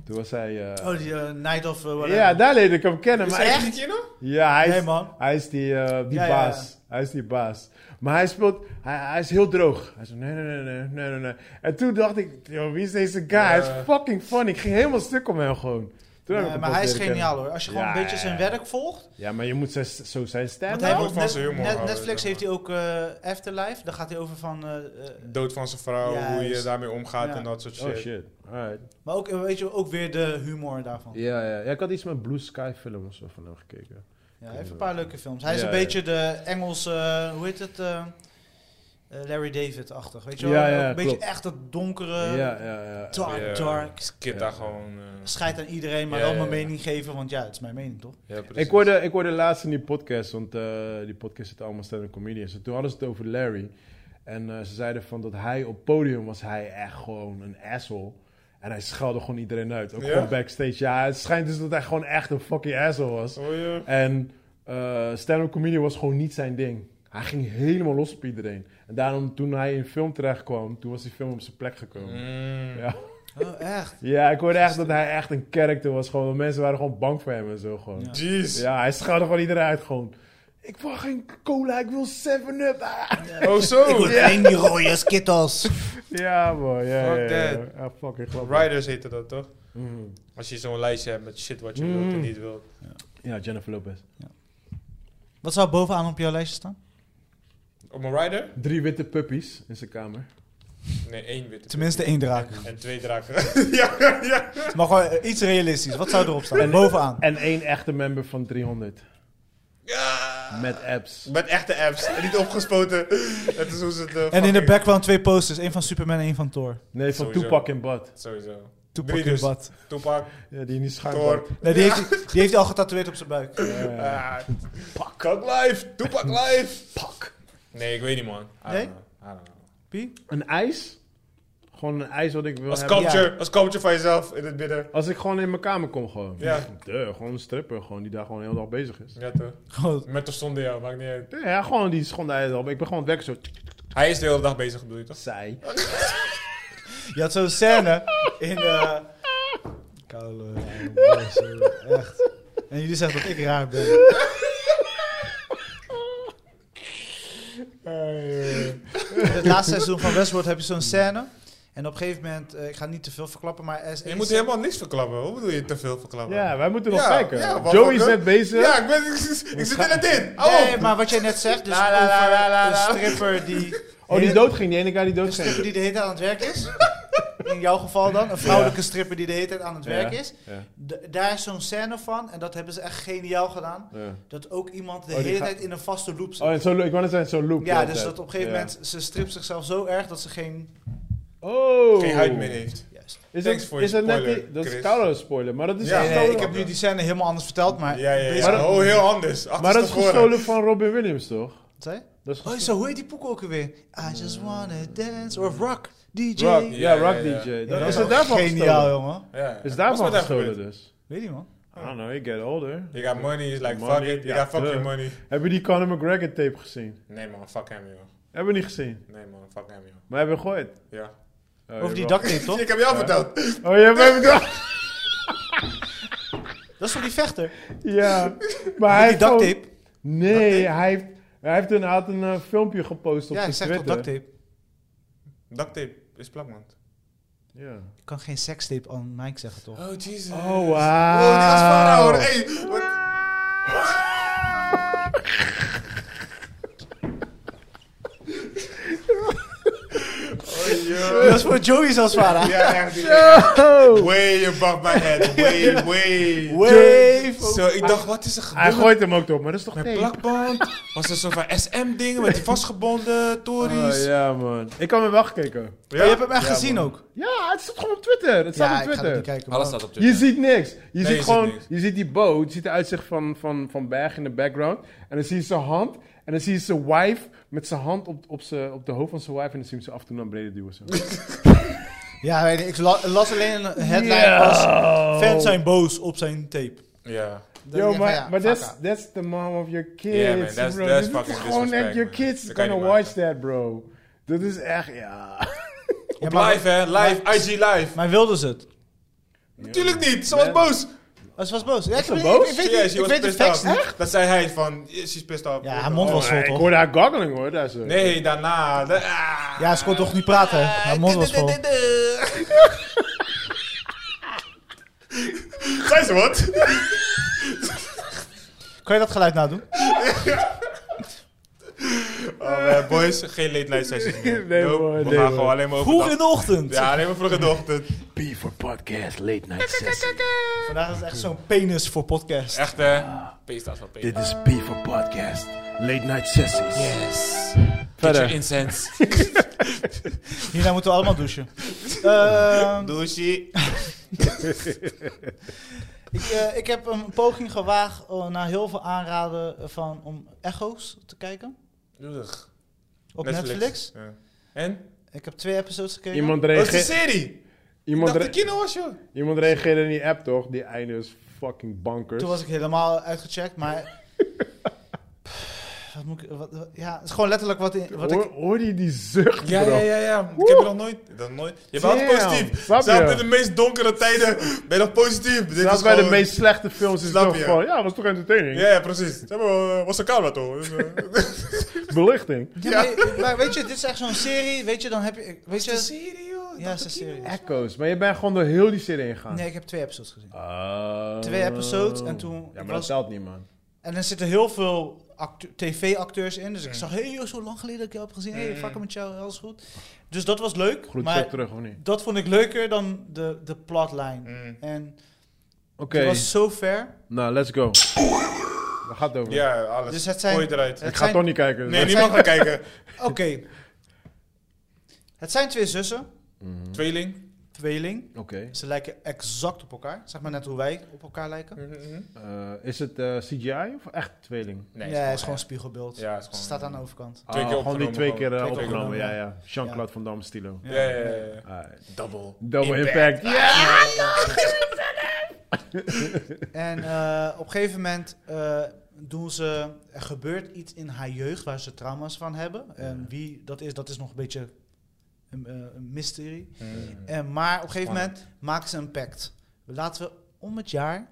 Toen was hij... eh, Oh, die eh, Night of. eh, whatever. ja, daar leerde ik hem kennen. Is maar hij ik- echt een keer nog? Ja, hij is, Nee, man. Hij is die, eh, die Ja, ja, baas. Hij is die baas. Maar hij speelt... Hij, hij is heel droog. Hij zo... Nee, nee, nee, nee, nee, nee, nee. En toen dacht ik... Yo, wie is deze guy? Hij is fucking funny. Ik ging helemaal stuk om hem gewoon. Toen heb ik Nee, hem maar pas hij is leren kennen. geniaal hoor. Als je gewoon Ja, een beetje ja, zijn ja. werk volgt. Ja, maar je moet zijn, zo zijn Want stand hij heeft houdt ook van net- zijn humor net- houden, Netflix zeg heeft hij ook eh, Afterlife. Daar gaat hij over van. eh, eh, Dood van zijn vrouw, Juist. hoe je daarmee omgaat Ja. en dat soort shit. Oh shit. Alright. maar ook, eh, weet je, ook weer de humor daarvan. Ja, ja, ja. Ik had iets met Blue Sky film of zo van hem gekeken. Ja, hij heeft een paar leuke films. Hij is Ja, een ja. beetje de Engelse, eh, hoe heet het? eh, eh, Larry David-achtig. Weet je wel? Ja, ja, Ook een beetje klopt. echt dat donkere, ja, ja, ja. dark, Ja, dark. Skip daar gewoon. eh, Scheid aan iedereen, maar Ja, wel mijn ja, ja. mening geven, want ja, het is mijn mening toch? ja, precies. Ik hoorde, ik hoorde laatst in die podcast, want eh, die podcast zitten allemaal stand-up comedians. En toen hadden ze het over Larry. En eh, ze zeiden van dat hij op podium was hij echt gewoon een asshole. En hij schelde gewoon iedereen uit. Ook Ja? gewoon backstage. Ja, het schijnt dus dat hij gewoon echt een fucking asshole was. Hoor je? En eh stand-up comedy was gewoon niet zijn ding. Hij ging helemaal los op iedereen. En daarom, toen hij in film terecht kwam, toen was die film op zijn plek gekomen. Mm. Ja. Oh, echt? ja, ik hoorde echt dat hij echt een character was. Gewoon, mensen waren gewoon bang voor hem en zo gewoon. Ja. Jeez. Ja, hij schouwde gewoon iedereen uit gewoon. Ik wil geen cola, ik wil 7-up. Ah. Oh, Ik zo. wil één die rode skittles. Ja, man. Ja, Fuck ja, ja, ja. that. Ah, fucking grappig. Riders heette dat toch? Mhm. Als je zo'n lijstje hebt met shit wat je Mm. wilt en niet wilt. Ja, Jennifer Lopez. Wat zou bovenaan op jouw lijstje staan? Op mijn rider? Drie witte puppies in zijn kamer. Nee, één witte. Tenminste één draak. En twee draken. ja, ja, ja. Maar gewoon eh, iets realistisch. Wat zou erop staan? Bovenaan. En één echte member van 300. ja. Met apps. Met echte apps. Niet opgespoten. Het is hoe ze het. eh, En in de fucking- background twee posters. één van Superman en één van Thor. Nee, van Sowieso. Tupac en Bad. Sowieso. Toepak Drie in dus. bad. Toepak, Ja, die niet schuimt. Thor. Nee, die heeft, hij- die heeft hij al getatoeëerd op zijn buik. Ah, Pak live. Toepak live. Pak. Nee, ik weet niet, man. I Nee? don't know. I don't know. Wie? Een ijs? Gewoon een ijs wat ik wil Als hebben. culture, als culture van jezelf in het midden. Als ik gewoon in mijn kamer kom gewoon. Ja. Duh, gewoon een stripper gewoon, die daar gewoon heel dag bezig is. Ja, toch? Oh. Goed. Met of zonder jou, maakt niet uit. Ja, gewoon die is gewoon de hele dag. Ik ben gewoon weg zo. tsk, tsk, tsk, Hij is de hele dag bezig, bedoel je toch? Zij. Je had zo'n scène in... eh Koude, eh, zo, echt. En jullie zeggen dat ik raar ben. In het laatste seizoen van Westworld heb je zo'n scène. En op een gegeven moment, eh, ik ga niet te veel verklappen, maar er is Je één moet scène- helemaal niks verklappen. Hoe bedoel je te veel verklappen? Ja, wij moeten nog Ja, kijken. ja, wat- Joey is wat- net bezig. Ja, ik, ben, ik, ik zit er net in. Oh! Hou Nee, op. maar wat jij net zegt, dus La, la, la, over la, la, la. een stripper die... Oh, die dood ging. Die ene guy die Een dood ging. stripper die de hele tijd aan het werk is. In jouw geval dan. Een vrouwelijke stripper die de hele tijd aan het Ja. werk is. Ja. D- daar is zo'n scène van. En dat hebben ze echt geniaal gedaan. Ja. Dat ook iemand de Oh, die hele gaat- tijd in een vaste loop zit. Oh, en zo, ik wou net zeggen, zo'n loop. ja, de dus hele dat tijd. op een gegeven Ja. moment... Ze stript zichzelf zo erg dat ze geen... Oh. Geen huid meer heeft. Juist. Is Thanks het, voor is je het net spoiler, die, dat is Chris. koude spoiler, maar dat is Ja, gestolen. nee, ik heb nu die scène helemaal anders verteld, maar... Ja, ja, ja. Maar dat- oh, heel anders. Achter maar dat is tevoren. gestolen van Robin Williams, toch? Wat zei je? Dat is Oh, gestolen. zo, hoe heet die poek ook alweer? I just wanna dance. Of rock. DJ. rock, ja, Ja, ja, rock ja. DJ. Ja, Dat, dat is is het daarvan Geniaal, gestolen? jongen. Ja, ja. Is Wat daarvan met hem gestolen gebeurd? dus? Weet je, man. I don't know, you get older. Je got money, is like Money, fuck it. Je ja, got fuck your duh. money. Heb je die Conor McGregor tape gezien? Nee man, fuck hem joh. Hebben we niet gezien, Nee man, fuck hem joh. maar hebben we gegooid. Ja. Oh, Over die jawel. daktape, toch? Ik heb jou verteld. Oh, je hebt hem bedacht. Dat is toch die vechter? Ja, maar hij Met heeft die gewoon- daktape. Nee, hij heeft, hij heeft een, hij had een eh, filmpje gepost op Ja, ik zijn zeg Twitter. toch daktape. Ducktape is plakband. Ja. Ik kan geen sekstape aan Mike zeggen, toch? Oh Jesus. Oh, Wow, die was van wauw. hoor. Hey, wat? Oh, joh. Dat is voor Joey zelfs, vader. Ja, echt. Way above my head. Way, way. Wave. Zo, ik dacht, wat Ah, is er Hij gebeurd? gooit hem ook op, maar dat is toch Mijn tape? plakband was een soort van SM-ding met die vastgebonden tories. Oh, ja, man. Ik kan hem wel gekeken. je hebt hem echt gezien ook. Ja, het staat gewoon op Twitter. Het staat op ja, ik ga dat Twitter. niet kijken. Alles maar- staat op Je Twitter. ziet niks. Je ziet je gewoon, ziet niks. je ziet die boot, je ziet de uitzicht van, van, van Berg in de background. En dan zie je zijn hand. En dan zie je zijn wife met zijn hand op, op, zijn, op de hoofd van zijn wife. En dan zie je hem ze af en toe naar beneden duwen. Zo. Ja, weet je, ik la- las alleen een headline als fans zijn boos op zijn tape. Ja. Dan denk Yo, ik van, ja, maar maar fuck that's, out. that's the mom of your kids, Yeah, man, that's- bro. that's Dit is fucking gewoon echt, disrespect, your man. kids Dat kan je gonna niet watch that, bro. Dat is echt, ja. Ja, maar, Live, hè? Live. IG live. maar wilden ze het? Natuurlijk niet. Ze was Man. boos. Oh, ze was boos. Ja, ik, ze weet- boos? Ja, ik weet, niet- she ik was weet de pissed facts off. niet. Dat zei hij van, yeah, she's pissed off. Ja, haar mond was vol, ik toch? hoorde haar gargling, hoor. Daar zo. Nee, daarna. da- ah. Ja, ze kon toch niet praten, hè? Haar mond was vol. Zei ze wat? Kan je dat geluid nadoen? Oh, man, boys, geen late night sessies meer. Nee, Nope, man, we nee, gaan man. gewoon alleen maar Vroeg overdag. in de ochtend. Ja, alleen maar vroeg in de ochtend. P for podcast, late night sessie. Vandaag is het echt zo'n penis voor podcast. Echt, hè? Ah. Peace staat van Peace. Dit is P for podcast, late night sessies. Yes. Verder. incense. Hierna moeten we allemaal douchen. Ehm, Douchey. ik, eh, ik heb een poging gewaagd eh, na heel veel aanraden van, om Echo's te kijken. Op Netflix. Ja. En? Ik heb twee episodes gekeken. Iemand, Dat is een reage- serie. Ik iemand, dacht de re- kino was, joh. iemand reageerde in die app, toch? Die einde is fucking bankers. Toen was ik helemaal uitgecheckt, maar... Pff, wat moet ik, wat, wat- ja, het is gewoon letterlijk wat, in, wat hoor, ik... hoor je die zucht, Ja, bro? ja, ja, ja. Ik heb je nog nooit. Dat nooit. Je bent altijd Damn, positief. snap je? Zelfs in de meest donkere tijden ben je nog positief. Dit Zelfs is bij de gewoon- meest slechte films is het Snap toch je? van, ja, was toch entertaining? Ja, ja, precies. Ze hebben wel, eh, was een camera toch? Dus, eh, Belichting. Ja, maar, maar weet je, dit is echt zo'n serie, weet je, dan heb je... Weet je ja, het is een serie. Echoes, maar je bent gewoon door heel die serie heen gegaan. Nee, ik heb twee episodes gezien. Oh. Twee episodes en toen- ik Ja, maar dat was- telt niet, man. En er zitten heel veel actu- tv-acteurs in. Dus ik zag, hey, joh, zo lang geleden dat ik jou heb gezien. Hey, fuck met jou, alles goed. Dus dat was leuk. Groet maar zo terug, of niet? dat vond ik leuker dan de, de plotline. Mm. En Oké, het was zo ver. nou, let's go. Waar gaat het over? Ja, alles. Dus het zijn- Gooi het eruit. het ik ga zijn- toch niet kijken. dus Nee, niemand gaat kijken. Oké. Het zijn twee zussen. Tweeling. Tweeling. Oké. Ze lijken exact op elkaar. Zeg maar net hoe wij op elkaar lijken. Eh, is het eh, CGI of echt tweeling? Nee, ja, het is gewoon spiegelbeeld. Ja, het is Ze gewoon- staat aan de overkant. Twee Ah, keer gewoon die opgenomen, twee gewoon. keer eh, Twee keer opgenomen, opgenomen, ja, ja. Jean-Claude Van Damme stilo. Ja, ja, ja, ja. Alright. Double. Double Impact. impact. Ja! En eh, op een gegeven moment eh, doen ze, er gebeurt iets in haar jeugd waar ze trauma's van hebben. En wie dat is, dat is nog een beetje een, eh, een mysterie. En, maar op een gegeven moment maken ze een pact. Laten we om het jaar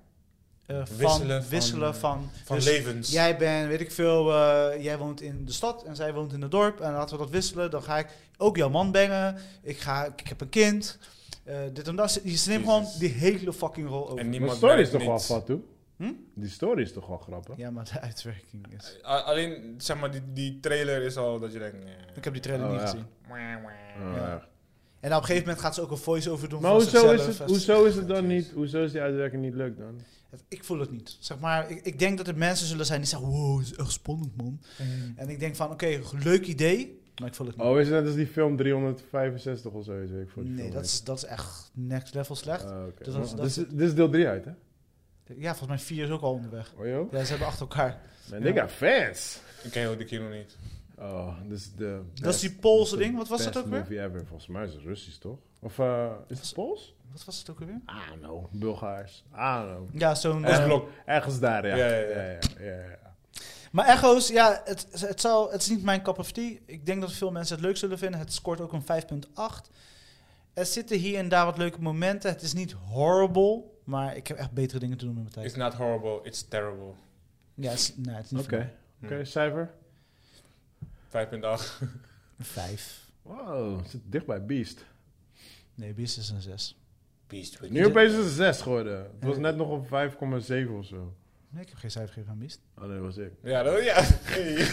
eh, van, Wisselen wisselen van- van, van, Van dus levens. Jij bent, weet ik veel, eh, jij woont in de stad en zij woont in het dorp. En laten we dat wisselen. Dan ga ik ook jouw man bengen. Ik, ga, ik heb een kind. Eh, dit en dat. Ze ze neemt gewoon Jezus. die hele fucking rol over. En Maar niemand de story is merkt toch wel niets. fat, toe? Hm? Die story is toch wel grappig? Ja, maar de uitwerking is. A- Alleen, zeg maar, die, die trailer is al dat je denkt... nee. Ik heb die trailer Oh, niet ja. gezien. Oh, Ja. echt. En op een gegeven moment gaat ze ook een voice-over doen. Maar van hoezo is, zichzelf. het, hoezo is het dan niet, hoezo is die uitwerking niet leuk dan? Het- Ik voel het niet. Zeg maar, ik, ik denk dat er mensen zullen zijn die zeggen: Wow, het is echt spannend, man. En ik denk van: Oké, leuk idee. Maar ik voel het niet. Oh, is het net als die film 365 of zo? Weet ik, voor die nee, film dat is, dat is echt next level slecht. heet. Ah, oké. Dus Maar dat- dit is- Dit is deel 3 uit, hè? ja, volgens mij vier is ook al onderweg. Hoor je ook? Ja, ze hebben achter elkaar. Man, they got fans! Ik ken ook de kino niet. Oh, dit is de... Dat is die Poolse ding. Wat was dat ook weer? movie ever. Volgens mij is het Russisch, toch? Of eh, is het Pools? Wat was het ook weer? I don't know. Bulgaars. I don't know. Ja, zo'n. Dat is eh, blok. Ergens daar, ja. Ja, ja, ja. ja, ja. Maar Echo's, ja, het, het, zal, het is niet mijn cup of tea. Ik denk dat veel mensen het leuk zullen vinden. Het scoort ook een 5.8. Er zitten hier en daar wat leuke momenten. Het is niet horrible, maar ik heb echt betere dingen te doen met mijn tijd. It's not horrible, it's terrible. Ja, het is, nee, het is niet Oké. Hm. Oké, cijfer? 5.8. Een 5. Wow, zit dicht bij Beast. Nee, Beast is een 6. Beast with Nu opeens is het 6 geworden. Het was net nog op 5,7 of zo. Nee, ik heb geen cijfer gegeven aan Mist. Oh nee, dat was ik. Ja, dat, ja. Hey.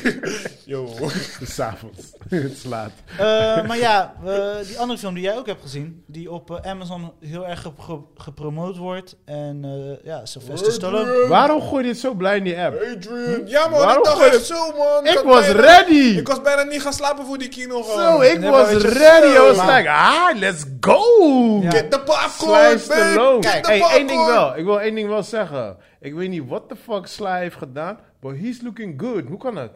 Yo. Het is avonds. Dus het slaat. Eh, maar ja, eh, die andere film die jij ook hebt gezien, die op eh, Amazon heel erg gep- ge- gepromoot wordt. En eh, ja, Sylvester Stallone. Waarom gooi je dit zo blij in die app? Adrian. Ja man, Waarom ik dacht gooi je- echt zo man. Ik had was bijna- ready! Ik was bijna niet gaan slapen voor die kino gewoon. Zo, ik Nee, was maar weet je- ready. I was Maar- like, ah, let's go! Ja. Get the popcorn, Sly babe. Stallone. Get the Hey, popcorn. één ding wel. Ik wil één ding wel zeggen. Ik weet niet wat de fuck Sly heeft gedaan, but he's looking good. Hoe kan dat?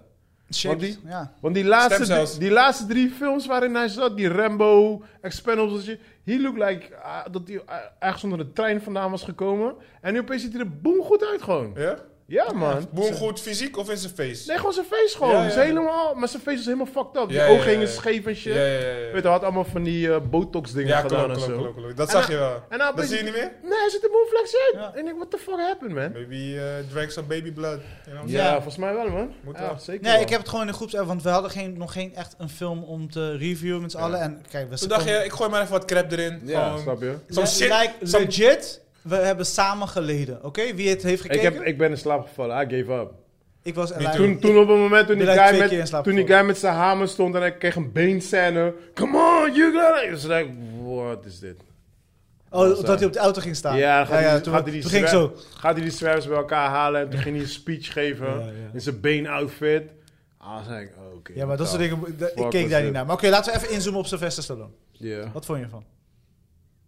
Shaped, die- ja. Want die laatste, Stemcels. drie- die laatste drie films waarin hij zat, die Rambo, Expendables, en shit, he looked like ah, dat hij ah, ergens onder de trein vandaan was gekomen. En nu opeens ziet hij er boem goed uit gewoon. Ja? Ja man. Boom goed fysiek of in zijn face? Nee, gewoon zijn face gewoon. Ja, ja. Ze helemaal, maar zijn face was helemaal fucked up. Die Ja, ja, ogen ja, gingen ja. scheef en shit. Ja, ja, ja, ja. Weet je, hij had allemaal van die eh, botox dingen Ja, gedaan klopt, klopt, en zo. klopt, klopt. Dat En zag je hij- wel. en hij dat opeens- zie je niet meer? Nee, hij zit er boem flex in. Ja. En ik denk, what the fuck happened man? Maybe uh, drag some baby blood. You know? Ja, Ja. volgens mij wel, man. Moet ja, wel. zeker. Nee, wel. ik heb het gewoon in de groep, want we hadden geen, nog geen echt een film om te reviewen met z'n allen. En kijk, we Toen dacht je, ik gooi maar even wat crap erin. Ja, Gewoon- snap je? Zo'n Le- shit. like, zo'n- legit, we hebben samen geleden. Oké, wie het heeft Ik, gekeken? heb, ik ben in slaap gevallen. I gave up. Ik was Niet Toen, toen op het moment toen die, ben daar guy twee keer in met, slaap toen die guy gevallen. met zijn hamer stond en hij kreeg een beenscène. Come on, you got it. was like, what is dit? Oh, dat hij op de auto ging staan. eh, Ja, gaat hij- toen, gaat hij die toen ging ik zwer- zo. gaat hij die zwervers bij elkaar halen en toen ging hij een speech geven Ja, ja. in zijn beenoutfit. Ah, was like, oh, oké. Ja, maar dat soort nou, dingen, da- ik was keek daar dit? niet naar. Maar oké, laten we even inzoomen op Sylvester Stallone. ja. Wat vond je ervan?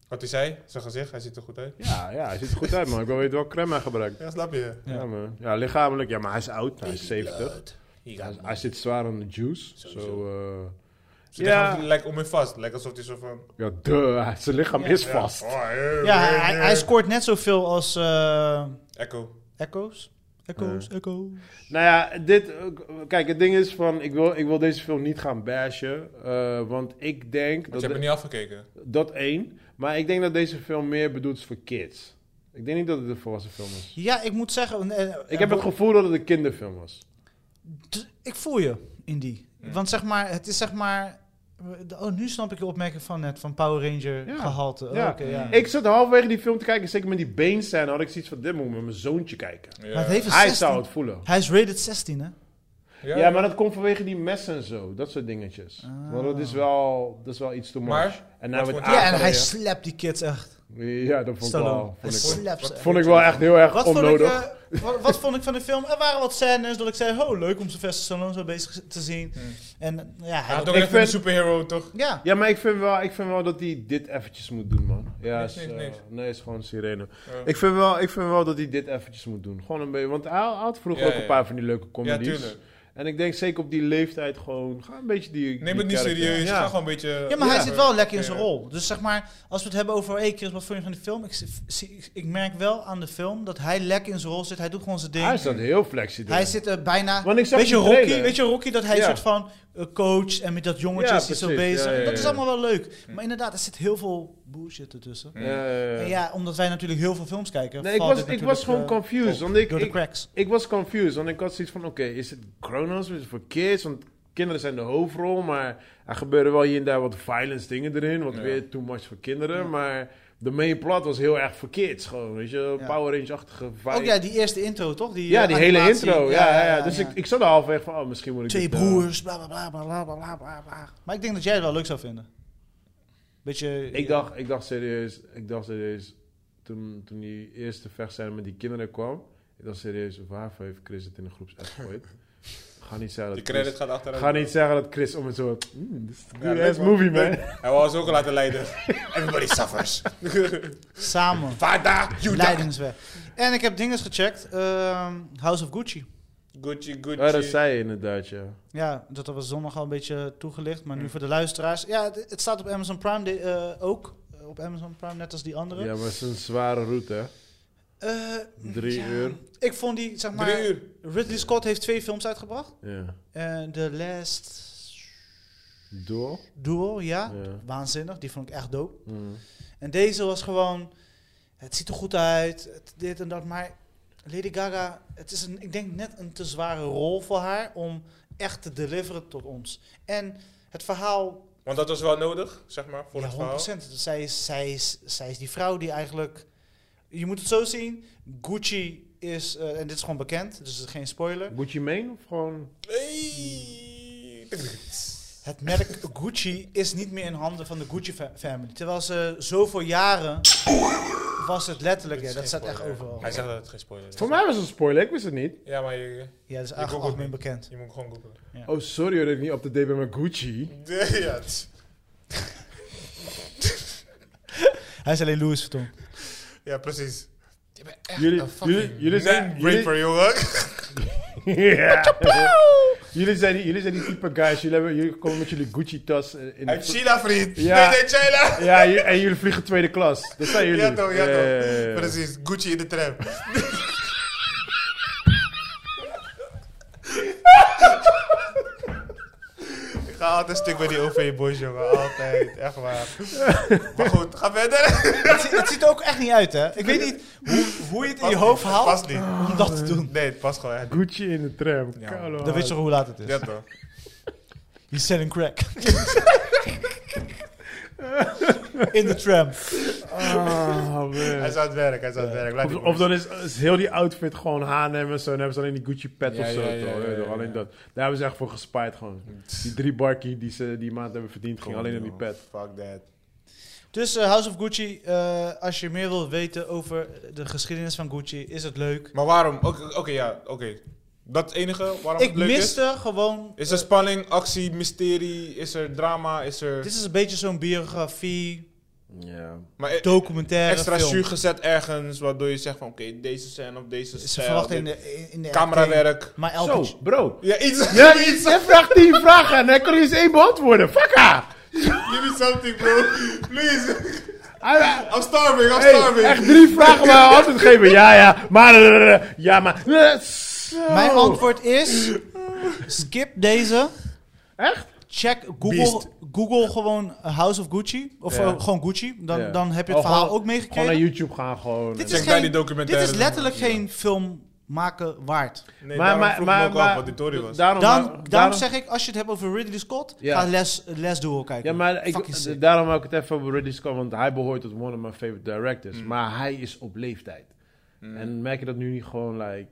Wat hij zei, zijn gezicht, hij ziet er goed uit. Ja, ja, hij ziet er goed uit, man. Ik wil weten welke crème hij gebruikt. Ja, snap je? Ja. man. Ja, lichamelijk. Ja, maar hij is oud. Hij is 70. Hij Hij, hij zit zwaar aan de juice. Zo, eh, ja. Ja. lijkt om hem vast. Lijkt alsof hij zo van... Ja, duh, zijn lichaam is vast. Oh, hey, Ja, hey, hij, hij- hey. Eh. hij scoort net zoveel als eh Echo. Echoes. Echoes, Echoes. Nou ja, dit, eh, k- kijk, het ding is van, ik wil, ik wil deze film niet gaan bashen, eh, want ik denk, Want dat, je hebt hem niet afgekeken. dat één, maar ik denk dat deze film meer bedoeld is voor kids. Ik denk niet dat het een volwassen film is. Ja, ik moet zeggen... eh, eh, Ik heb het gevoel dat het een kinderfilm was. t- ik voel je in die. Want zeg maar, het is zeg maar... Oh, nu snap ik de opmerking van net, van Power Ranger Ja. gehalte. Oh, Ja. oké, ja. Ik zat halverwege die film te kijken, zeker met die beenscène, had ik zoiets van, dit moet ik met mijn zoontje kijken. Ja. Maar het heeft een Hij Ah, 16. zou het voelen. Hij is rated 16, hè? Ja, Ja, maar dat komt vanwege die messen en zo, dat soort dingetjes. Ah. Want dat is wel, dat is wel iets too much. Maar, en nou wat het vond je- Ja, en hij aangereden- slapt die kids echt. Ja, dat vond ik Stallone. wel. hij Vond ik, slapt ze echt. vond ik wel echt heel erg Wat vond, ik, onnodig. eh, wa- wat, vond ik van de film? Er waren wat scènes dat ik zei, oh leuk om Sylvester Stallone zo bezig te zien. En ja, Hij hij, had ook Ik even een vind- superhero, toch? ja. Ja, maar ik vind, wel, ik vind wel dat hij dit eventjes moet doen, man. Ja, Niks, is, niks, eh, niks. nee, is gewoon sirene. Ik, vind wel, ik vind wel dat hij dit eventjes moet doen. Gewoon een beetje, want hij had vroeger Ja, ook ja, een ja. paar van die leuke comedies. Ja, tuurlijk. En ik denk zeker op die leeftijd gewoon, ga een beetje die Neem die het niet character. serieus. Ga Ja. gewoon een beetje... eh, Ja, maar hij zit wel lekker in zijn Ja. rol. Dus zeg maar, als we het hebben over, hey Chris, wat vond je van de film? Ik, zie- zie- ik- ik merk wel aan de film dat hij lekker in zijn rol zit. Hij doet gewoon zijn ding. Hij is dat heel flexibel. Hij zit er bijna. Want ik zag weet, je die Rocky, trailer. weet je Rocky dat hij Ja. een soort van eh, coach en met dat jongetje Ja, is hij zo precies. bezig. Ja, ja, Dat is ja. allemaal wel leuk. Maar inderdaad, er zit heel veel bullshit ertussen. Ja, ja, ja. En ja, omdat wij natuurlijk heel veel films kijken. Nee, ik valt was, dit ik was natuurlijk, gewoon eh, confused. Want ik, door de ik, cracks. ik was confused, want ik had zoiets van: oké, is het Chronos? Is het voor kids? Want kinderen zijn de hoofdrol, maar er gebeuren wel hier en daar wat violence dingen erin. Wat weer too much voor kinderen. Maar de main plot was heel erg voor kids. Gewoon, weet je, Ja. Power Range-achtige vibe. Ook ja, die eerste intro toch? Die, ja, eh, die hele animatie. intro. Ja, ja, ja. Dus ja. Ik, ik zat er halfweg van: oh, misschien moet ik. Twee dit, eh, broers, bla bla bla bla bla bla bla bla. Maar ik denk dat jij het wel leuk zou vinden. Beetje. ik, dacht, ik dacht serieus, ik dacht serieus toen, toen die eerste vechtscène met die kinderen kwam. Ik dacht serieus, waarvoor heeft Chris het in de groepsapp gegooid? Ga niet zeggen De dat credit Chris- gaat achteruit. Ga niet zeggen dat Chris om het zo. Mm, dit is een Ja, good leuk, ass man. movie, man. Hij wou ons ook laten leiden. Everybody suffers. Samen. Vada, Judah. Leidensweg. En ik heb dinges gecheckt. Ehm, House of Gucci. Gucci, Ja, Oh, dat Gucci. zei je inderdaad, ja. Ja, dat was zondag al een beetje toegelicht. Maar nu voor de luisteraars. Ja, het, het staat op Amazon Prime de- eh, ook. Eh, Op Amazon Prime, net als die andere. Ja, maar het is een zware route, hè? Eh, Drie ja, uur. Ik vond die, zeg maar... Drie uur. Ridley Scott heeft twee films uitgebracht. Ja. En The Last Door. Duel, ja. Ja. Waanzinnig. Die vond ik echt dope. Mm. En deze was gewoon... Het ziet er goed uit. Het, dit en dat. Maar Lady Gaga... Het is, een, ik denk, net een te zware rol voor haar... om echt te deliveren tot ons. En het verhaal Want dat was wel nodig, zeg maar, voor ja, het verhaal. 100%. Dus Zij is, zij, is, zij is die vrouw die eigenlijk je moet het zo zien. Gucci is, eh, en dit is gewoon bekend, dus het is geen spoiler. Gucci Mane of gewoon... Hey. Het merk Gucci is niet meer in handen van de Gucci fa- family. Terwijl ze zo voor jaren was het letterlijk. Ja, dat staat echt overal. Hij zegt dat het geen spoiler is. Voor mij was het een spoiler, ik wist het niet. Ja, maar je, Ja, dat is googelt eigenlijk algemeen niet. bekend. je moet gewoon googlen. Oh, sorry hoor, dat ik niet op de date ben met Gucci. ja, het is- Hij is alleen Louis Vuitton. ja, precies. Jullie, jullie, jullie zijn... Net jullie- Raper, jongen. Ja. jullie, zijn die, jullie zijn die type guys, jullie, hebben, jullie komen met jullie Gucci-tas in- in de Uit China, vriend. Ja. Nee, nee, China. Ja, ju- en jullie vliegen tweede klas. Dat zijn jullie. Ja toch, Ja, ja toch. ja, Eh. ja, ja. Precies, Gucci in de tram. Ik ga altijd stuk bij die OV-boys, jongen. Altijd, echt waar. Maar goed, ga verder. het, zi- het ziet er ook echt niet uit, hè? Ik weet niet hoe, hoe je het in je hoofd Het haalt past niet. om dat te doen. Nee, het past gewoon echt niet. Gucci in de tram. Ja. Kalo Dan weet je hard. toch hoe laat het is. Ja toch. He's selling crack. In de tram. Ah, man. Hij is aan het werk, hij is aan het Eh, werk. Laat Of, die of dan is, is heel die outfit gewoon H&M en zo. En hebben ze alleen die Gucci pet Ja, of zo. ja, toch? ja, ja, Weet je toch, ja, Alleen ja. dat. Daar hebben ze echt voor gespaard gewoon. Die drie barkie die ze die maand hebben verdiend ging alleen aan die jongen. pet. Fuck that. Dus eh, House of Gucci, eh, als je meer wilt weten over de geschiedenis van Gucci, is het leuk. Maar waarom? Oké, oké, ja, oké. Dat het enige waarom Ik het leuk is. miste gewoon... Is er spanning, actie, mysterie? Is er drama? Is er... Dit is een beetje zo'n biografie, Ja. Maar e- documentaire extra film. zuur gezet ergens, waardoor je zegt van oké, deze scène of deze Ze stijl, verwachten in dit- de, in- in de camerawerk. acting. Maar elke... Zo, bro. Ja, iets. Ja, je jij vraagt tien vragen en hij kan er eens één beantwoorden. Fuck haar. Give me something, bro. Please. Hij- I'm starving, I'm Hey, starving. echt drie vragen waar hij antwoord geven. Ja, ja, maar... eh, Ja, maar... Zo. Mijn antwoord is... Skip deze. Echt? Beast. Check Google, Google gewoon House of Gucci. Of Ja. eh, gewoon Gucci. Dan, Ja. dan heb je het Oh, verhaal gewoon- ook Gewoon naar meegekregen. YouTube gaan gewoon. Dit En- is, Check daar geen, die dit documentaire is dan. letterlijk geen film maken waard. Nee, daarom vroeg ik me ook af wat die Tory was. daarom, Daarom, maar- daarom, daarom- zeg ik, als je het hebt over Ridley Scott, Ja. ga Les, Les Duel kijken. Ja, maar ik, Fucking sick. daarom wou ik het even over Ridley Scott, want hij behoort tot one of my favorite directors. Mm. Maar hij is op leeftijd. En merk je dat nu niet gewoon, like...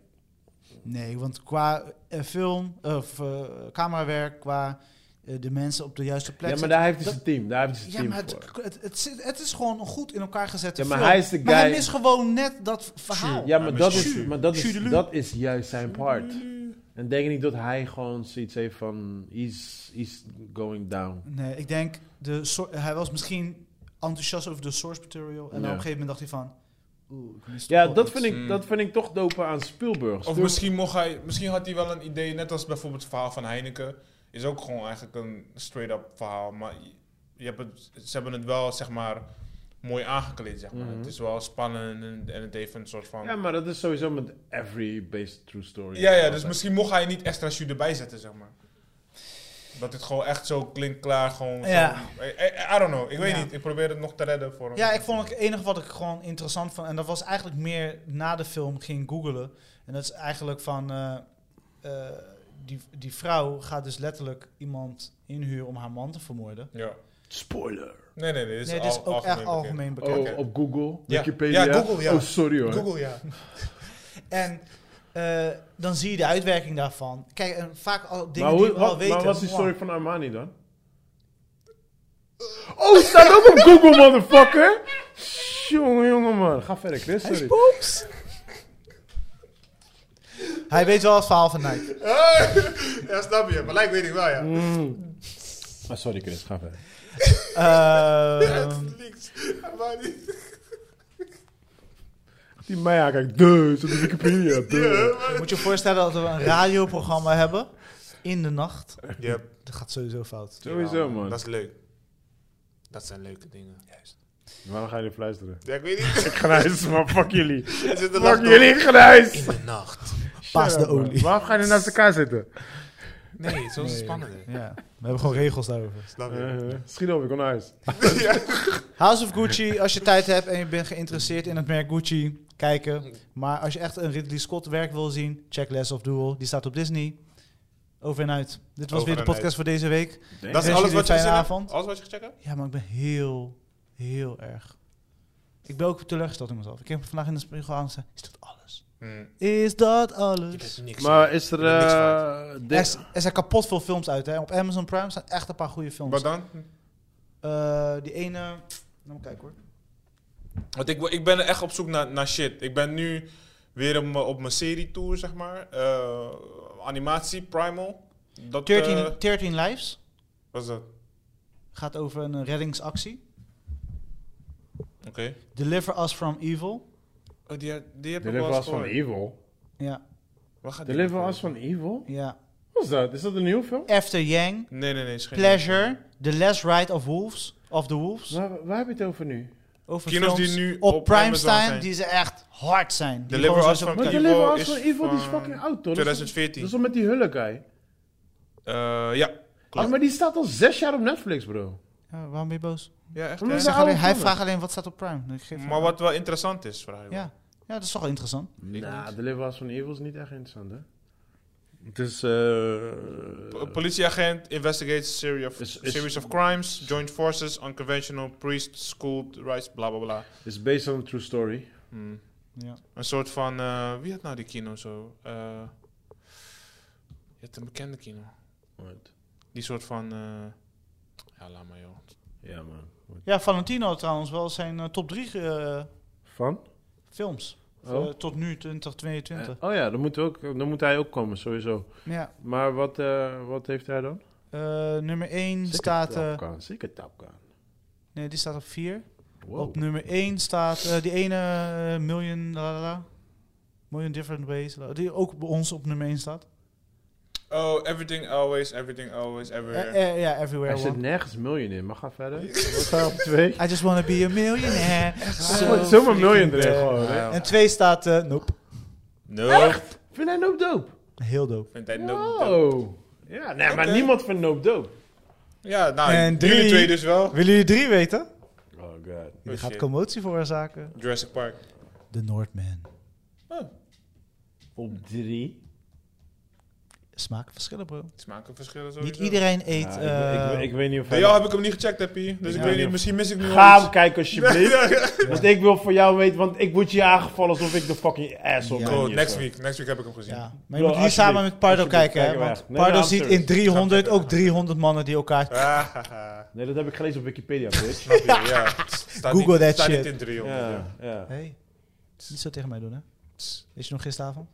Nee, want qua eh, film, of eh, camerawerk, qua eh, de mensen op de juiste plek. Ja, maar zetten, daar heeft hij dat- zijn team. Daar heeft hij zijn Ja, team maar het, voor. het, het, zit- het is gewoon een goed in elkaar gezette Ja, maar film. hij is de Maar hij guy- mist gewoon net dat verhaal. Ja, maar maar dat Sjoerd- is, maar dat is, Sjoerdeloo. dat is juist zijn part. En denk je niet dat hij gewoon zoiets heeft van... He's, he's going down. Nee, ik denk, de soor- hij was misschien enthousiast over de source material. En Ja. dan op een gegeven moment dacht hij van... Oeh, ik mis Ja, toch dat iets. vind ik, dat vind ik toch doper aan Spielberg. Mm. Of Spielberg- misschien, mocht hij, misschien had hij wel een idee, net als bijvoorbeeld het verhaal van Heineken. Is ook gewoon eigenlijk een straight-up verhaal. Maar je- je hebt het, ze hebben het wel, zeg maar, mooi aangekleed, zeg maar. Het is wel spannend en, en het heeft een soort van... Mhm. Ja, maar dat is sowieso met every based true story. Ja, ja, dus misschien mocht hij niet extra jus erbij zetten, zeg maar. Dat het gewoon echt zo klinkt klaar, gewoon Ja. zo... I, I- I don't know, ik weet Ja. niet. Ik probeer het nog te redden voor hem. Ja, ik vond het enige wat ik gewoon interessant vond, en dat was eigenlijk meer na de film ging googelen. En dat is eigenlijk van eh, eh, die, die vrouw gaat dus letterlijk iemand inhuren om haar man te vermoorden. Ja. Spoiler. Nee, nee, nee. Dit is, nee, dit is al- ook echt bekend. algemeen Oh, bekend. Oké. op Google, Ja. Wikipedia. Ja, Google, ja. Oh, sorry hoor. Google, ja. En eh, dan zie je de uitwerking daarvan. Kijk, en vaak al dingen Maar, hoe, die we al wat, weten. maar wat is die wow. story van Armani dan? Oh, staat ook op Google, motherfucker! Jongen, jongen man. Ga verder, Chris. Sorry. Oeps. Hij weet wel het verhaal van Nike. ja, snap je. Maar lijkt weet ik wel, ja. Mm. Ah, sorry Chris, ga verder. Ehm, Links. Maar niet. Die Maya kijkt, duh, is op de Wikipedia, duh. moet je je voorstellen dat we een radioprogramma hebben in de nacht. Yep. Dat gaat sowieso fout. Sowieso man. Nou, Dat is leuk. Dat zijn leuke dingen. Waarom ga je niet fluisteren? Ja, ik weet niet. Ik grijs, maar fuck jullie. Er zit een Fuck lach jullie, ik grijs! door. In de nacht. Pas de Ja, man. olie. Waarom ga je nou naast elkaar zitten? Nee, zo is het spannender. Ja, we hebben gewoon regels daarover. Snap je? Eh, schiet op, ik kom naar huis. House of Gucci, als je tijd hebt en je bent geïnteresseerd in het merk Gucci, kijken. Maar als je echt een Ridley Scott werk wil zien, check Les of Duel. Die staat op Disney. Over en uit. Dit was Over weer de en podcast uit. voor deze week. Dat is jullie alles een wat je fijne gezien hebt? avond. Alles wat je gecheckt hebt? Ja, maar ik ben heel, heel erg Ik ben ook teleurgesteld in mezelf. Ik heb vandaag in de spiegel aan en zei, is dat alles? Mm. Is dat Je bent alles? niks. Maar is er... Je bent niks eh, Er, dit- is- er zijn kapot veel films uit. Hè. Op Amazon Prime staan echt een paar goede films. Wat dan? Eh, die ene... Laat me kijken hoor. Want ik, ik ben echt op zoek naar, naar shit. Ik ben nu weer op, mijn- op mijn serie-tour, zeg maar. Eh, animatie, Primal. Dat, 13, eh, 13 Lives wat is dat? gaat over een reddingsactie. Oké. Deliver Us From Evil. Oh, die, heb- die heb ik wel Deliver eens Us van gehoord. Evil. Ja, Waar gaat die Deliver over? Us van Evil? ja. Wat is dat? Is dat een nieuwe film? After Yang, Nee, nee, nee. is geen- Pleasure, The Last Ride of Wolves, of the Wolves. Waar, waar heb je het over nu? Over Kino's films die nu op, op Prime Amazon staan, zijn. die ze echt hard zijn. Die Deliver gewoon Us zo- from Maar Evil Deliver Us is van Evil die is van fucking oud, toch? 2014. Dat is toch met die Hulk guy? Eh, ja. Ah, maar die staat al zes jaar op Netflix, bro. Ja, waarom ben je boos? Ja, Maar echt. hè? we Ik zijn zeg alleen, oude hij mannen. vraagt alleen wat staat op Prime. Ik geef Maar wat wel interessant is, vraag ik me. Ja. ja, dat is toch wel interessant. Nou, Deliver Us van Evil is niet echt interessant, hè? Het is... eh, P- Politieagent investigates series of, Is- is- series of crimes, joint forces, unconventional priest, school rights, bla bla bla. is based on a true story. Hmm. Ja. Een soort van, eh, wie had nou die kino zo? Eh, je hebt een bekende kino. Wat? Die soort van, eh, ja laat maar joh. Ja, man. Wat? ja, Valentino had trouwens wel zijn eh, top 3 eh, Van? films. Oh. Eh, tot nu, 2022. oh ja, dan moet, ook, dan moet hij ook komen, sowieso. Ja. Maar wat, eh, wat heeft hij dan? Eh, nummer 1 staat... eh, Tapkan, zeker Tapkan. nee, die staat op 4. Wow. Op nummer 1 staat eh, die ene eh, Million... la, la, la. million Different Ways. la, Die ook bij ons op nummer 1 staat. Oh, everything always, everything always, Eh, everywhere. eh, ja, Everywhere Hij zit One. nergens miljoen in, maar ga verder. Wat staat op twee? I just wanna be a millionaire. Zo- Zomaar miljoen erin eh, gewoon, hè? En 2 staat... eh, nope. No. Vind hij nou Noop Doop? Heel dope. Vindt hij no- no- Wow. Oh, Ja, nee, maar Oké. niemand vindt Noop Doop. Ja, nou, En jullie drie. twee dus wel. Willen jullie drie weten? Oh god. Dit Oh, gaat shit. commotie veroorzaken. Jurassic Park. The Northman. Op drie? Smaken verschillen, bro. Smaken verschillen sowieso. Niet iedereen eet... Ja, eh, ik, ik, ik weet niet of Bij hij... jou heb ik hem niet gecheckt, Happy. Dus ik Ja. weet niet, misschien mis ik nu Ga nog hem kijken alsjeblieft. Want ik wil voor jou weten, want ik word hier aangevallen alsof ik de fucking asshole Ja. ben. Cool, hier, next zo. week. Next week heb ik hem gezien. ja. Maar je Bro, moet hier samen alsjeblieft. met Pardo Alsjeblieft, kijken, hè. kijk Want weg. Nee, Pardo nee, I'm ziet serious. in 300 ook 300 mannen die elkaar... Ah, haha. Nee, dat heb ik gelezen op Wikipedia, bitch. Snap je, ja. Staat Google niet, that staat shit. niet in 300. ja. ja, ja. Hey, niet zo tegen mij doen, hè. Weet je nog gisteravond?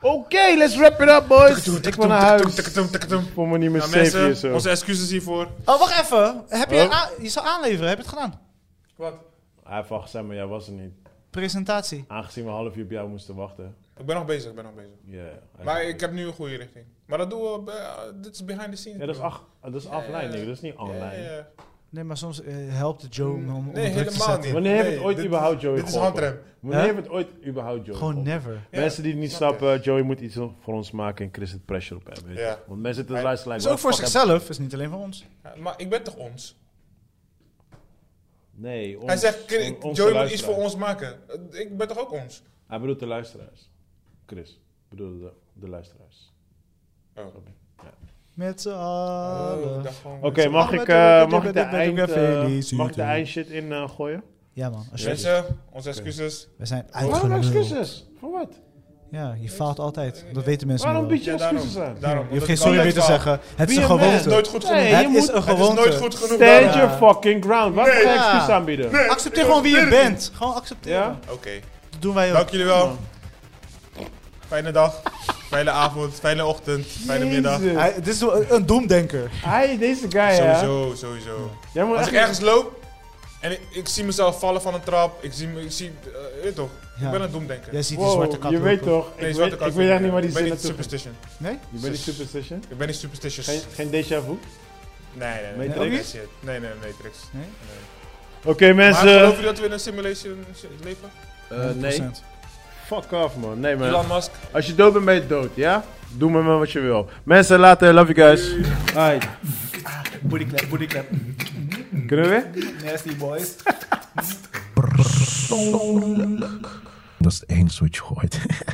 Oké, let's wrap it up, boys. Ik wil naar huis. Tikketum, tikketum. Ik voel me niet meer Nou, safe hier zo. mensen, onze excuses hiervoor. Oh, wacht even. Heb je, Oh. a- je zou aanleveren. Heb je het gedaan? Wat? Hij heeft al gezegd, maar jij was er niet. Presentatie. Aangezien we een half uur op jou moesten wachten. Ik ben nog bezig, ik ben nog bezig. Ja. hij- Maar ik heb nu een goede richting. Maar dat doen we, bij- eh, dit is behind the scenes. Ja, dat is, bro. ach, dat is offline, ja. nigga. Dat is niet Ja, online. ja, ja. Nee, maar soms eh, helpt het Joe om om Nee, onder druk te helemaal zetten. niet. Wanneer heeft Nee, het ooit dit- überhaupt Joey Dit is geholpen? handrem. Wanneer Huh? heeft het ooit überhaupt Joey Gewoon geholpen? never. Ja, mensen die het niet snap je. snappen, Joey moet iets voor ons maken en Chris het pressure op hebben. weet je. Ja. Want mensen zitten te Hij- luisteren. is like, ook voor what the fuck zichzelf. is niet alleen voor ons. Ja, Maar ik ben toch ons? heb- Nee, ons, Hij zegt, "Kid, on- onze Joey moet iets luisteraars. voor ons maken. Eh, Ik ben toch ook ons? Hij bedoelt de luisteraars. Chris bedoelde de, de luisteraars. Oh. Met z'n Oh. allen. Ik dacht gewoon- Oké, mag, Ahmed, ik, eh, eh, dit- mag dit- ik de dit- dit- eind, dit- dit- eh, dit- dit- mag ik de dit- eindshit in eh, gooien? Ja, man. Alsjeblieft. Mensen, onze excuses. We zijn Waarom uitgeluld. excuses? Voor wat? Ja, je faalt altijd. Dat weten mensen Waarom nu bied je Ja, excuses daarom. aan? daarom. wel. Je hoeft geen sorry meer te zeggen. Het is Be een a man. Het is nooit gewoonte. goed genoeg. Nee, je Het is moet... een Het is gewoonte. nooit goed genoeg. daarom. Stand your fucking ground. Waarom ga je Ja. excuus aanbieden? Accepteer gewoon wie je bent. Gewoon accepteren. Ja? Oké, Dat doen wij ook. dank jullie wel. Fijne dag, fijne avond, fijne ochtend, fijne middag. Jezus. Hij- Dit is een een doemdenker. Hij, deze guy, hè? Sowieso, sowieso. Jij moet Als ik echt- ergens loop en ik, ik zie mezelf vallen van een trap, ik zie, me- ik zie, eh, weet je toch, Ja. ik ben een doemdenker. Jij ziet die Wow, zwarte kat je weet lopen. toch? Nee, ik, zwarte weet, kat ik weet echt niet waar die ik ben zin niet naartoe ging. superstition. Nee? Je bent niet superstition? Ik ben niet superstitious. Geen, geen déjà vu? nee, nee, nee. Matrix? Nee, nee, shit. nee, nee, Matrix. Nee? Oké, Maar mensen. geloven jullie dat we in een simulation leven? nee. 100%. Fuck off, man. Nee, Elon man. Musk. Als je dood bent, ben je dood, ja? Doe met me wat je wil. Mensen, later. Love you guys. Hi. Bodyclap, bodyclap. Kunnen we weer? Nasty boys. Dat is het enige wat je hoort.